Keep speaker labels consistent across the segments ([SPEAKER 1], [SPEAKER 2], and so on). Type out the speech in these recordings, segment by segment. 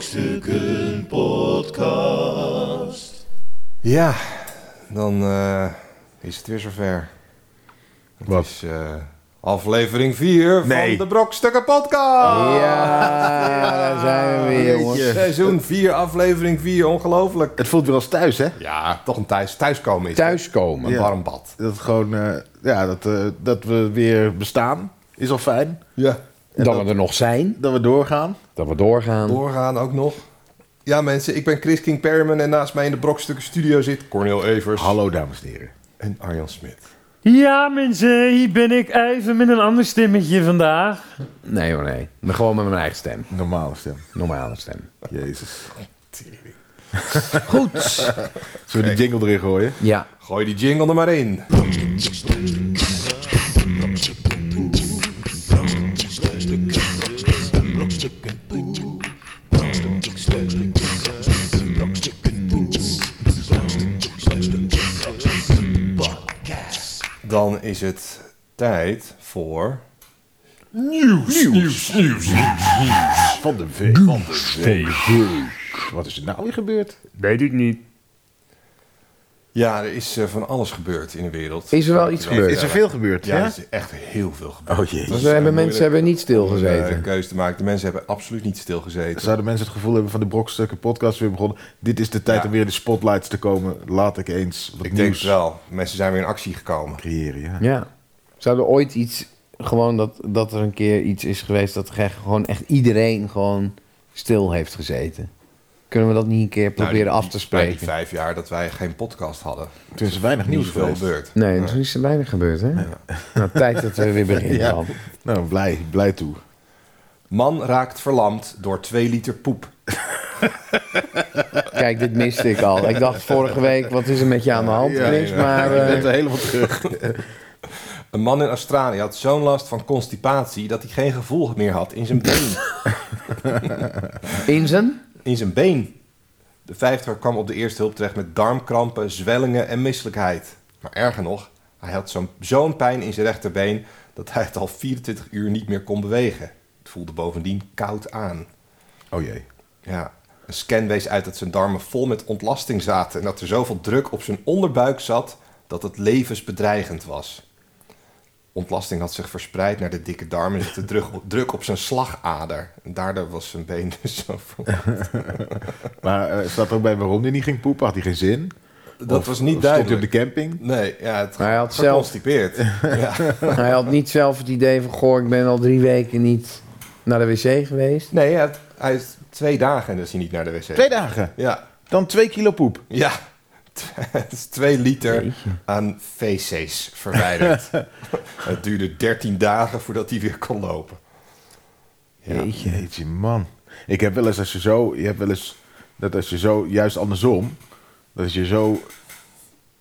[SPEAKER 1] Brokstukken Podcast.
[SPEAKER 2] Ja, dan eh, is het weer zover. Het
[SPEAKER 3] Wat?
[SPEAKER 2] is eh, aflevering 4 van
[SPEAKER 3] Nee.
[SPEAKER 2] de Brokstukken Podcast.
[SPEAKER 3] Ja, ja, daar zijn we
[SPEAKER 2] Ah,
[SPEAKER 3] weer, jongens.
[SPEAKER 2] Seizoen 4, aflevering 4, ongelooflijk.
[SPEAKER 3] Het voelt weer als thuis, hè?
[SPEAKER 2] Ja, toch een thuis, thuiskomen is
[SPEAKER 3] Thuiskomen.
[SPEAKER 2] Een warm bad.
[SPEAKER 3] Dat, het gewoon, eh, ja, dat, eh, dat we weer bestaan is al fijn.
[SPEAKER 2] Ja.
[SPEAKER 3] En
[SPEAKER 4] dat,
[SPEAKER 3] dat-
[SPEAKER 4] we er nog zijn,
[SPEAKER 3] Dat we doorgaan.
[SPEAKER 4] dat we doorgaan.
[SPEAKER 2] Doorgaan ook nog. Ja mensen, ik ben Chris King Perriman en naast mij in de Brokstukken studio zit Cornel Evers
[SPEAKER 3] Hallo, dames en heren.
[SPEAKER 2] en Arjan Smit.
[SPEAKER 5] Ja, mensen, hier ben ik even met een ander stemmetje vandaag.
[SPEAKER 4] Nee hoor, nee. Maar Gewoon met mijn eigen stem.
[SPEAKER 3] Normale stem.
[SPEAKER 4] Normale stem.
[SPEAKER 3] Jezus.
[SPEAKER 4] Goed.
[SPEAKER 3] Zullen we die jingle erin gooien?
[SPEAKER 4] Ja.
[SPEAKER 2] Gooi die jingle er maar in. Dan is het tijd voor
[SPEAKER 3] Van de week. Van de week. Wat is er nou weer gebeurd?
[SPEAKER 5] Weet ik niet.
[SPEAKER 2] Ja, er is eh, van alles gebeurd in de wereld.
[SPEAKER 4] Is er wel iets gebeurd?
[SPEAKER 3] Is er veel gebeurd?
[SPEAKER 2] Ja,
[SPEAKER 3] Eh, Ja.
[SPEAKER 2] er is echt heel veel gebeurd.
[SPEAKER 3] Oh jee.
[SPEAKER 4] Dus we hebben mensen
[SPEAKER 2] moeilijk.
[SPEAKER 4] hebben niet
[SPEAKER 2] Om, eh,
[SPEAKER 4] stilgezeten.
[SPEAKER 2] keuze te maken. De mensen hebben absoluut niet stilgezeten.
[SPEAKER 3] Zouden mensen het gevoel hebben van de Brokstukken podcast weer begonnen? Dit is de tijd
[SPEAKER 2] Ja.
[SPEAKER 3] om weer in de spotlights te komen. Laat ik eens wat
[SPEAKER 2] Ik denk
[SPEAKER 3] nieuws
[SPEAKER 2] het wel. Mensen zijn weer in actie gekomen.
[SPEAKER 3] creëren. Ja.
[SPEAKER 4] Ja. Zou er ooit iets, gewoon dat, dat er een keer iets is geweest dat echt gewoon echt iedereen gewoon stil heeft gezeten? Kunnen we dat niet een keer proberen
[SPEAKER 2] Nou, die-
[SPEAKER 4] af te
[SPEAKER 2] die- nou, die
[SPEAKER 4] spreken?
[SPEAKER 2] vijf jaar dat wij geen podcast hadden.
[SPEAKER 3] Toen is er weinig nieuws
[SPEAKER 2] Niet veel
[SPEAKER 3] geweest.
[SPEAKER 2] gebeurd.
[SPEAKER 4] Nee, toen is er weinig gebeurd, hè? Nou, tijd dat we weer beginnen
[SPEAKER 3] Ja.
[SPEAKER 4] dan.
[SPEAKER 3] Nou, blij, blij toe.
[SPEAKER 2] Man raakt verlamd door 2 liter poep.
[SPEAKER 4] Kijk, dit miste ik al. Ik dacht vorige week, wat is er met je aan de hand,
[SPEAKER 3] Ja,
[SPEAKER 4] Chris?
[SPEAKER 2] ja.
[SPEAKER 4] Maar eh,
[SPEAKER 3] Net helemaal terug.
[SPEAKER 2] Een man in Australië had zo'n last van constipatie dat hij geen gevoel meer had in zijn been.
[SPEAKER 4] in zijn?
[SPEAKER 2] in zijn been. De vijftiger kwam op de eerste hulp terecht met darmkrampen, zwellingen en misselijkheid. Maar erger nog, hij had zo'n zo'n pijn in zijn rechterbeen dat hij het al 24 uur niet meer kon bewegen. Het voelde bovendien koud aan.
[SPEAKER 3] Oh jee.
[SPEAKER 2] Ja, een scan wees uit dat zijn darmen vol met ontlasting zaten en dat er zoveel druk op zijn onderbuik zat dat het levensbedreigend was. Ontlasting had zich verspreid naar de dikke darmen en zette druk, druk op zijn slagader. En daardoor was zijn been dus zo verlamd.
[SPEAKER 3] Maar eh, staat er ook bij waarom hij niet ging poepen? Had hij geen zin?
[SPEAKER 2] Dat
[SPEAKER 3] Of
[SPEAKER 2] was niet
[SPEAKER 3] Stond hij op
[SPEAKER 2] duidelijk.
[SPEAKER 3] de camping?
[SPEAKER 2] Nee, ja, het
[SPEAKER 4] Maar hij had zelf-
[SPEAKER 2] geconstipeerd. ja.
[SPEAKER 4] Hij had niet zelf het idee van, goh, ik ben al drie weken niet naar de wc geweest.
[SPEAKER 2] Nee, hij, had- hij is twee dagen en is hij niet naar de wc.
[SPEAKER 3] Twee dagen.
[SPEAKER 2] Ja,
[SPEAKER 3] Dan twee kilo poep.
[SPEAKER 2] ja. Het is twee liter aan wc's verwijderd. het duurde dertien dagen voordat hij weer kon lopen.
[SPEAKER 3] Jeetje. Jeetje, man. Ik heb wel eens als je zo... Je hebt wel eens dat als je zo... Juist andersom. Dat als je zo...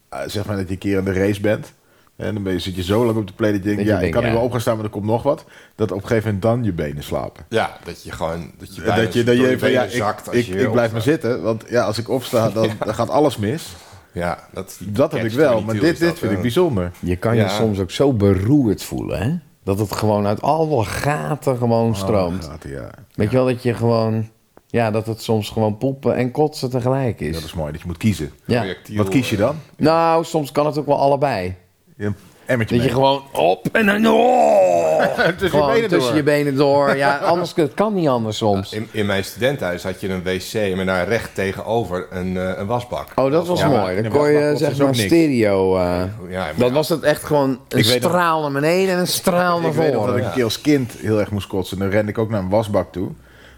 [SPEAKER 3] eh, zeg maar dat je een keer aan de race bent. En dan ben je, zit je zo lang op de play dat je denkt...
[SPEAKER 4] Dat je
[SPEAKER 3] ja, ik
[SPEAKER 4] denkt,
[SPEAKER 3] kan nu
[SPEAKER 4] ja.
[SPEAKER 3] wel op gaan staan, maar er komt nog wat. Dat op een gegeven moment dan je benen slapen.
[SPEAKER 2] Ja, dat je gewoon... Dat je,
[SPEAKER 3] Ja, dat je, dat je
[SPEAKER 2] door
[SPEAKER 3] even,
[SPEAKER 2] benen
[SPEAKER 3] ja, ik,
[SPEAKER 2] zakt als
[SPEAKER 3] ik,
[SPEAKER 2] je
[SPEAKER 3] ik
[SPEAKER 2] weer
[SPEAKER 3] blijf maar
[SPEAKER 2] opstaat.
[SPEAKER 3] zitten, want ja, als ik opsta, dan dan gaat alles mis.
[SPEAKER 2] Ja, dat, is die
[SPEAKER 3] Dat heb ik
[SPEAKER 2] catch
[SPEAKER 3] wel,
[SPEAKER 2] 22
[SPEAKER 3] maar
[SPEAKER 2] is
[SPEAKER 3] dit, dit
[SPEAKER 2] dat,
[SPEAKER 3] vind ik
[SPEAKER 2] eh.
[SPEAKER 3] bijzonder.
[SPEAKER 4] Je kan
[SPEAKER 2] Ja.
[SPEAKER 4] je soms ook zo beroerd voelen, hè? Dat het gewoon uit alle gaten gewoon stroomt.
[SPEAKER 3] Oh, gaten, ja.
[SPEAKER 4] Weet je wel, dat je gewoon... Ja, dat het soms gewoon poepen en kotsen tegelijk
[SPEAKER 3] Dat
[SPEAKER 4] is.
[SPEAKER 3] is mooi, dat je moet kiezen.
[SPEAKER 4] Ja.
[SPEAKER 2] Projectiel,
[SPEAKER 3] Wat kies je
[SPEAKER 2] eh,
[SPEAKER 3] dan?
[SPEAKER 4] Nou, soms kan het ook wel allebei.
[SPEAKER 3] Je emmertje
[SPEAKER 4] Dat je
[SPEAKER 3] mee.
[SPEAKER 4] gewoon op en dan... Oh!
[SPEAKER 3] tussen
[SPEAKER 4] Gewoon
[SPEAKER 3] je benen
[SPEAKER 4] tussen
[SPEAKER 3] door.
[SPEAKER 4] je benen door. Ja, anders het kan niet anders soms.
[SPEAKER 2] In, in mijn studentenhuis had je een wc, maar daar recht tegenover een, eh, een wasbak.
[SPEAKER 4] Oh, dat was
[SPEAKER 2] Ja, maar-
[SPEAKER 4] mooi.
[SPEAKER 3] de
[SPEAKER 4] Dan kon je
[SPEAKER 3] wasbak
[SPEAKER 4] zeg
[SPEAKER 3] kost dus ook
[SPEAKER 4] maar
[SPEAKER 3] niks.
[SPEAKER 4] stereo. eh,
[SPEAKER 2] Ja, maar
[SPEAKER 4] dat
[SPEAKER 2] ja.
[SPEAKER 4] was het echt gewoon een
[SPEAKER 3] Ik weet nog-
[SPEAKER 4] straal naar beneden en een straal naar
[SPEAKER 3] Ik weet nog dat
[SPEAKER 4] voren.
[SPEAKER 3] ik een keer als kind heel erg moest kotsen. Dan rende ik ook naar een wasbak toe.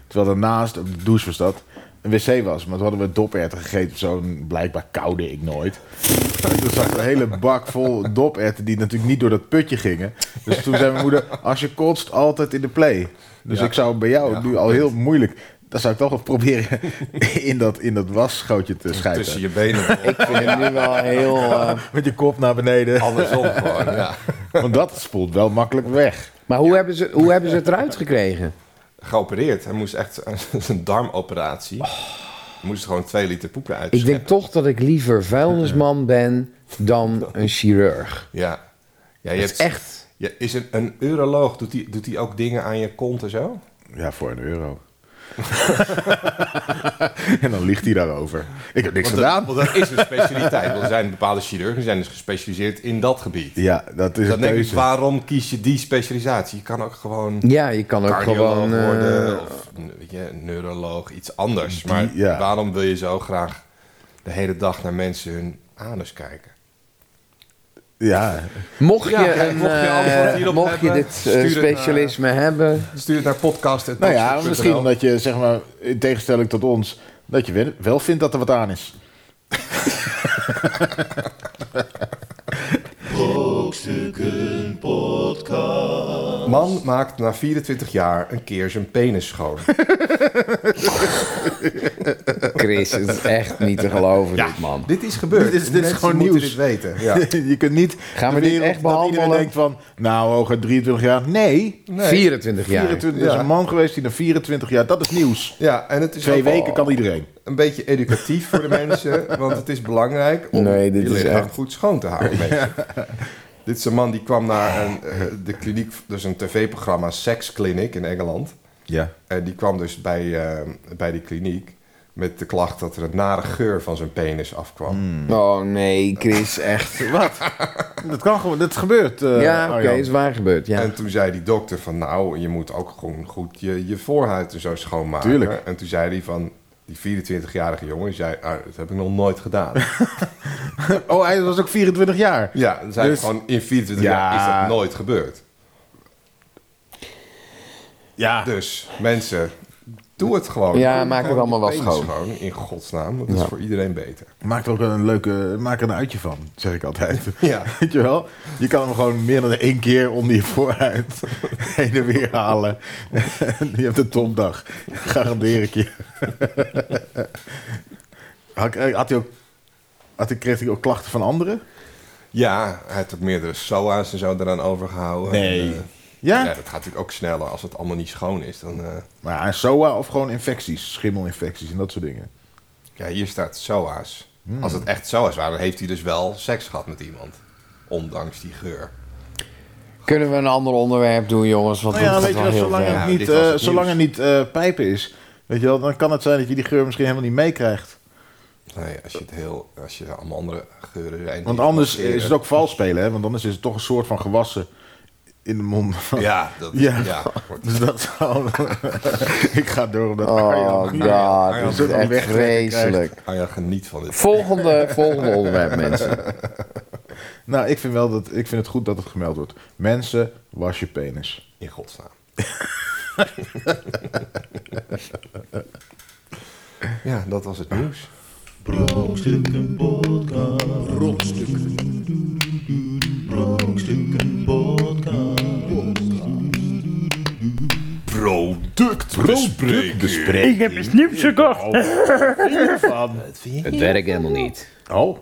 [SPEAKER 3] Terwijl daarnaast, op de douche was dat, een wc was. Maar toen hadden we doperwten gegeten of zo. En Blijkbaar koude ik nooit. Toen zat er een hele bak vol doperwten die natuurlijk niet door dat putje gingen. Dus toen zei mijn moeder, als je kotst, altijd in de play. Dus
[SPEAKER 2] Ja.
[SPEAKER 3] ik zou bij jou
[SPEAKER 2] Ja,
[SPEAKER 3] nu al heel moeilijk... Dan zou ik toch wel proberen in dat, in dat wasgootje te
[SPEAKER 2] Tussen
[SPEAKER 3] schijten.
[SPEAKER 2] je benen. door.
[SPEAKER 4] Ik vind het nu wel heel... eh,
[SPEAKER 3] Met je kop naar beneden.
[SPEAKER 2] Andersom gewoon, ja.
[SPEAKER 3] Want dat spoelt wel makkelijk weg.
[SPEAKER 4] Maar hoe, hebben ze, hoe hebben ze het eruit gekregen?
[SPEAKER 2] geopereerd. Hij moest echt een darmoperatie. Hij moest gewoon twee liter poepen uit.
[SPEAKER 4] Oh. Ik denk toch dat ik liever vuilnisman ben dan een chirurg.
[SPEAKER 2] Ja. ja je
[SPEAKER 4] Dat is
[SPEAKER 2] hebt,
[SPEAKER 4] echt...
[SPEAKER 2] Ja, is een, een uroloog, doet hij doet die ook dingen aan je kont en zo?
[SPEAKER 3] Ja, voor een euro. En dan ligt hij daarover. Ik heb niks
[SPEAKER 2] Want
[SPEAKER 3] gedaan.
[SPEAKER 2] dat, want dat is een specialiteit. Want er zijn bepaalde chirurgen die zijn dus gespecialiseerd in dat gebied. Dus
[SPEAKER 3] Ja, dat is
[SPEAKER 2] Dan
[SPEAKER 3] een
[SPEAKER 2] denk ik,
[SPEAKER 3] keuze.
[SPEAKER 2] waarom kies je die specialisatie? Je kan ook gewoon
[SPEAKER 4] Ja, je kan ook
[SPEAKER 2] cardioloog
[SPEAKER 4] gewoon... eh,
[SPEAKER 2] worden of weet je, neuroloog, iets anders. maar
[SPEAKER 3] ja.
[SPEAKER 2] waarom wil je zo graag de hele dag naar mensen hun anus kijken?
[SPEAKER 3] Ja,
[SPEAKER 4] mocht je,
[SPEAKER 2] Ja, kijk,
[SPEAKER 4] een,
[SPEAKER 2] mocht je
[SPEAKER 4] eh,
[SPEAKER 2] antwoord hierop
[SPEAKER 4] mocht je
[SPEAKER 2] hebben,
[SPEAKER 4] dit eh,
[SPEAKER 2] stuur het naar-
[SPEAKER 4] specialisme hebben...
[SPEAKER 2] Stuur het naar podcast.
[SPEAKER 3] nou ja, misschien dat je, zeg maar, in tegenstelling tot ons, dat je wel- wel vindt dat er wat aan is.
[SPEAKER 2] Man maakt na 24 jaar een keer zijn penis schoon.
[SPEAKER 4] Chris, het is echt niet te geloven
[SPEAKER 2] Ja.
[SPEAKER 4] dit, man.
[SPEAKER 2] dit is gebeurd.
[SPEAKER 3] Dit is- dit is
[SPEAKER 2] Mensen
[SPEAKER 3] gewoon
[SPEAKER 2] moeten
[SPEAKER 3] nieuws.
[SPEAKER 2] dit weten. Ja.
[SPEAKER 3] je kunt niet.
[SPEAKER 4] Gaan we
[SPEAKER 3] de
[SPEAKER 4] dit
[SPEAKER 3] wereld-
[SPEAKER 4] echt
[SPEAKER 3] Dat iedereen
[SPEAKER 4] behandelen?
[SPEAKER 3] denkt van, nou, hoger 23 jaar. Nee.
[SPEAKER 2] Nee.
[SPEAKER 4] 24 Dus jaar.
[SPEAKER 3] 24, Er
[SPEAKER 2] Ja.
[SPEAKER 3] is een man geweest die na 24 jaar, dat is nieuws.
[SPEAKER 2] Ja, en het is
[SPEAKER 3] Twee
[SPEAKER 2] ook
[SPEAKER 3] weken
[SPEAKER 2] al
[SPEAKER 3] kan iedereen.
[SPEAKER 2] een beetje educatief voor de mensen, want het is belangrijk om
[SPEAKER 4] Nee, dit
[SPEAKER 2] je
[SPEAKER 4] is
[SPEAKER 2] lichaam
[SPEAKER 4] echt-
[SPEAKER 2] goed schoon te houden. mensen. Dit is een man die kwam naar een, eh, de kliniek, dus een tv-programma, Sex Clinic in Engeland.
[SPEAKER 3] Ja.
[SPEAKER 2] En die kwam dus bij, eh, bij die kliniek met de klacht dat er een nare geur van zijn penis afkwam.
[SPEAKER 4] Oh nee, Chris, echt.
[SPEAKER 3] Wat? dat kan gewoon, dat gebeurt. eh,
[SPEAKER 4] ja, oké,
[SPEAKER 3] Arjan.
[SPEAKER 4] is waar gebeurd. Ja.
[SPEAKER 2] En toen zei die dokter van, nou, je moet ook gewoon goed je, je voorhuid en zo schoonmaken.
[SPEAKER 3] Tuurlijk.
[SPEAKER 2] En toen zei hij van, die 24-jarige jongen, die zei, ah, dat heb ik nog nooit gedaan.
[SPEAKER 3] Oh, hij was ook 24 jaar.
[SPEAKER 2] ja, dan zei
[SPEAKER 3] Dus-
[SPEAKER 2] hij gewoon, in 24
[SPEAKER 3] Ja.
[SPEAKER 2] jaar is dat nooit gebeurd.
[SPEAKER 3] Ja.
[SPEAKER 2] Dus, mensen, doe het gewoon.
[SPEAKER 4] Ja,
[SPEAKER 2] Doe
[SPEAKER 4] maak het
[SPEAKER 2] gewoon
[SPEAKER 4] allemaal wel
[SPEAKER 2] je penis
[SPEAKER 4] schoon.
[SPEAKER 2] In godsnaam, dat is
[SPEAKER 4] Ja.
[SPEAKER 2] voor iedereen beter.
[SPEAKER 3] Maak er ook wel een leuke, maak er een uitje van, zeg ik altijd.
[SPEAKER 2] Ja.
[SPEAKER 3] Weet je wel? Je kan hem gewoon meer dan één keer onder je vooruit heen en weer halen. je hebt een topdag. Garandeer ik je. Had, ik- eh, had hij ook, had hij, kreeg hij ook klachten van anderen?
[SPEAKER 2] Ja, hij heeft ook meerdere SOA's en zo eraan overgehouden. En, eh, ja,
[SPEAKER 3] Ja?
[SPEAKER 2] dat gaat natuurlijk ook sneller. Als het allemaal niet schoon is, dan... eh,
[SPEAKER 3] Maar ja, een SOA of gewoon infecties, schimmelinfecties en dat soort dingen.
[SPEAKER 2] Ja, hier staat SOA's.
[SPEAKER 3] Hmm.
[SPEAKER 2] Als het echt SOA's waren, dan heeft hij dus wel seks gehad met iemand. Ondanks die geur.
[SPEAKER 4] Kunnen we een ander onderwerp doen, jongens? Want
[SPEAKER 3] Nou ja,
[SPEAKER 4] dit
[SPEAKER 3] weet
[SPEAKER 4] gaat
[SPEAKER 3] je wel,
[SPEAKER 4] wel heel
[SPEAKER 3] zolang
[SPEAKER 4] ver.
[SPEAKER 3] het
[SPEAKER 2] Ja,
[SPEAKER 3] niet,
[SPEAKER 2] dit was
[SPEAKER 3] eh,
[SPEAKER 2] het
[SPEAKER 3] zolang
[SPEAKER 2] nieuws.
[SPEAKER 3] het niet eh, pijpen is, weet je wel, dan kan het zijn dat je die geur misschien helemaal niet meekrijgt.
[SPEAKER 2] Nee, Nou als je het heel... Als je allemaal andere geuren zijn... die
[SPEAKER 3] Want anders
[SPEAKER 2] passeren.
[SPEAKER 3] is het ook vals spelen, hè? Want anders is het toch een soort van gewassen in de mond.
[SPEAKER 2] Ja, dat is...
[SPEAKER 3] Ja.
[SPEAKER 2] Ja. wordt-
[SPEAKER 3] Dus dat zou... ik ga door omdat
[SPEAKER 4] Oh
[SPEAKER 3] Arjan...
[SPEAKER 4] god,
[SPEAKER 2] Arjan
[SPEAKER 4] dit
[SPEAKER 3] zit
[SPEAKER 4] is
[SPEAKER 3] hem
[SPEAKER 4] echt
[SPEAKER 3] weg te krijgen.
[SPEAKER 4] vreselijk.
[SPEAKER 2] Ah ja, geniet van dit.
[SPEAKER 4] Volgende, volgende onderwerp, mensen.
[SPEAKER 3] Nou, ik vind, wel dat, ik vind het goed dat het gemeld wordt. Mensen, was je penis.
[SPEAKER 2] In godsnaam. ja, dat was het nieuws.
[SPEAKER 3] Bespreek
[SPEAKER 5] Ik heb eens nieuws gekocht.
[SPEAKER 3] van.
[SPEAKER 4] Het werkt helemaal niet.
[SPEAKER 3] Oh,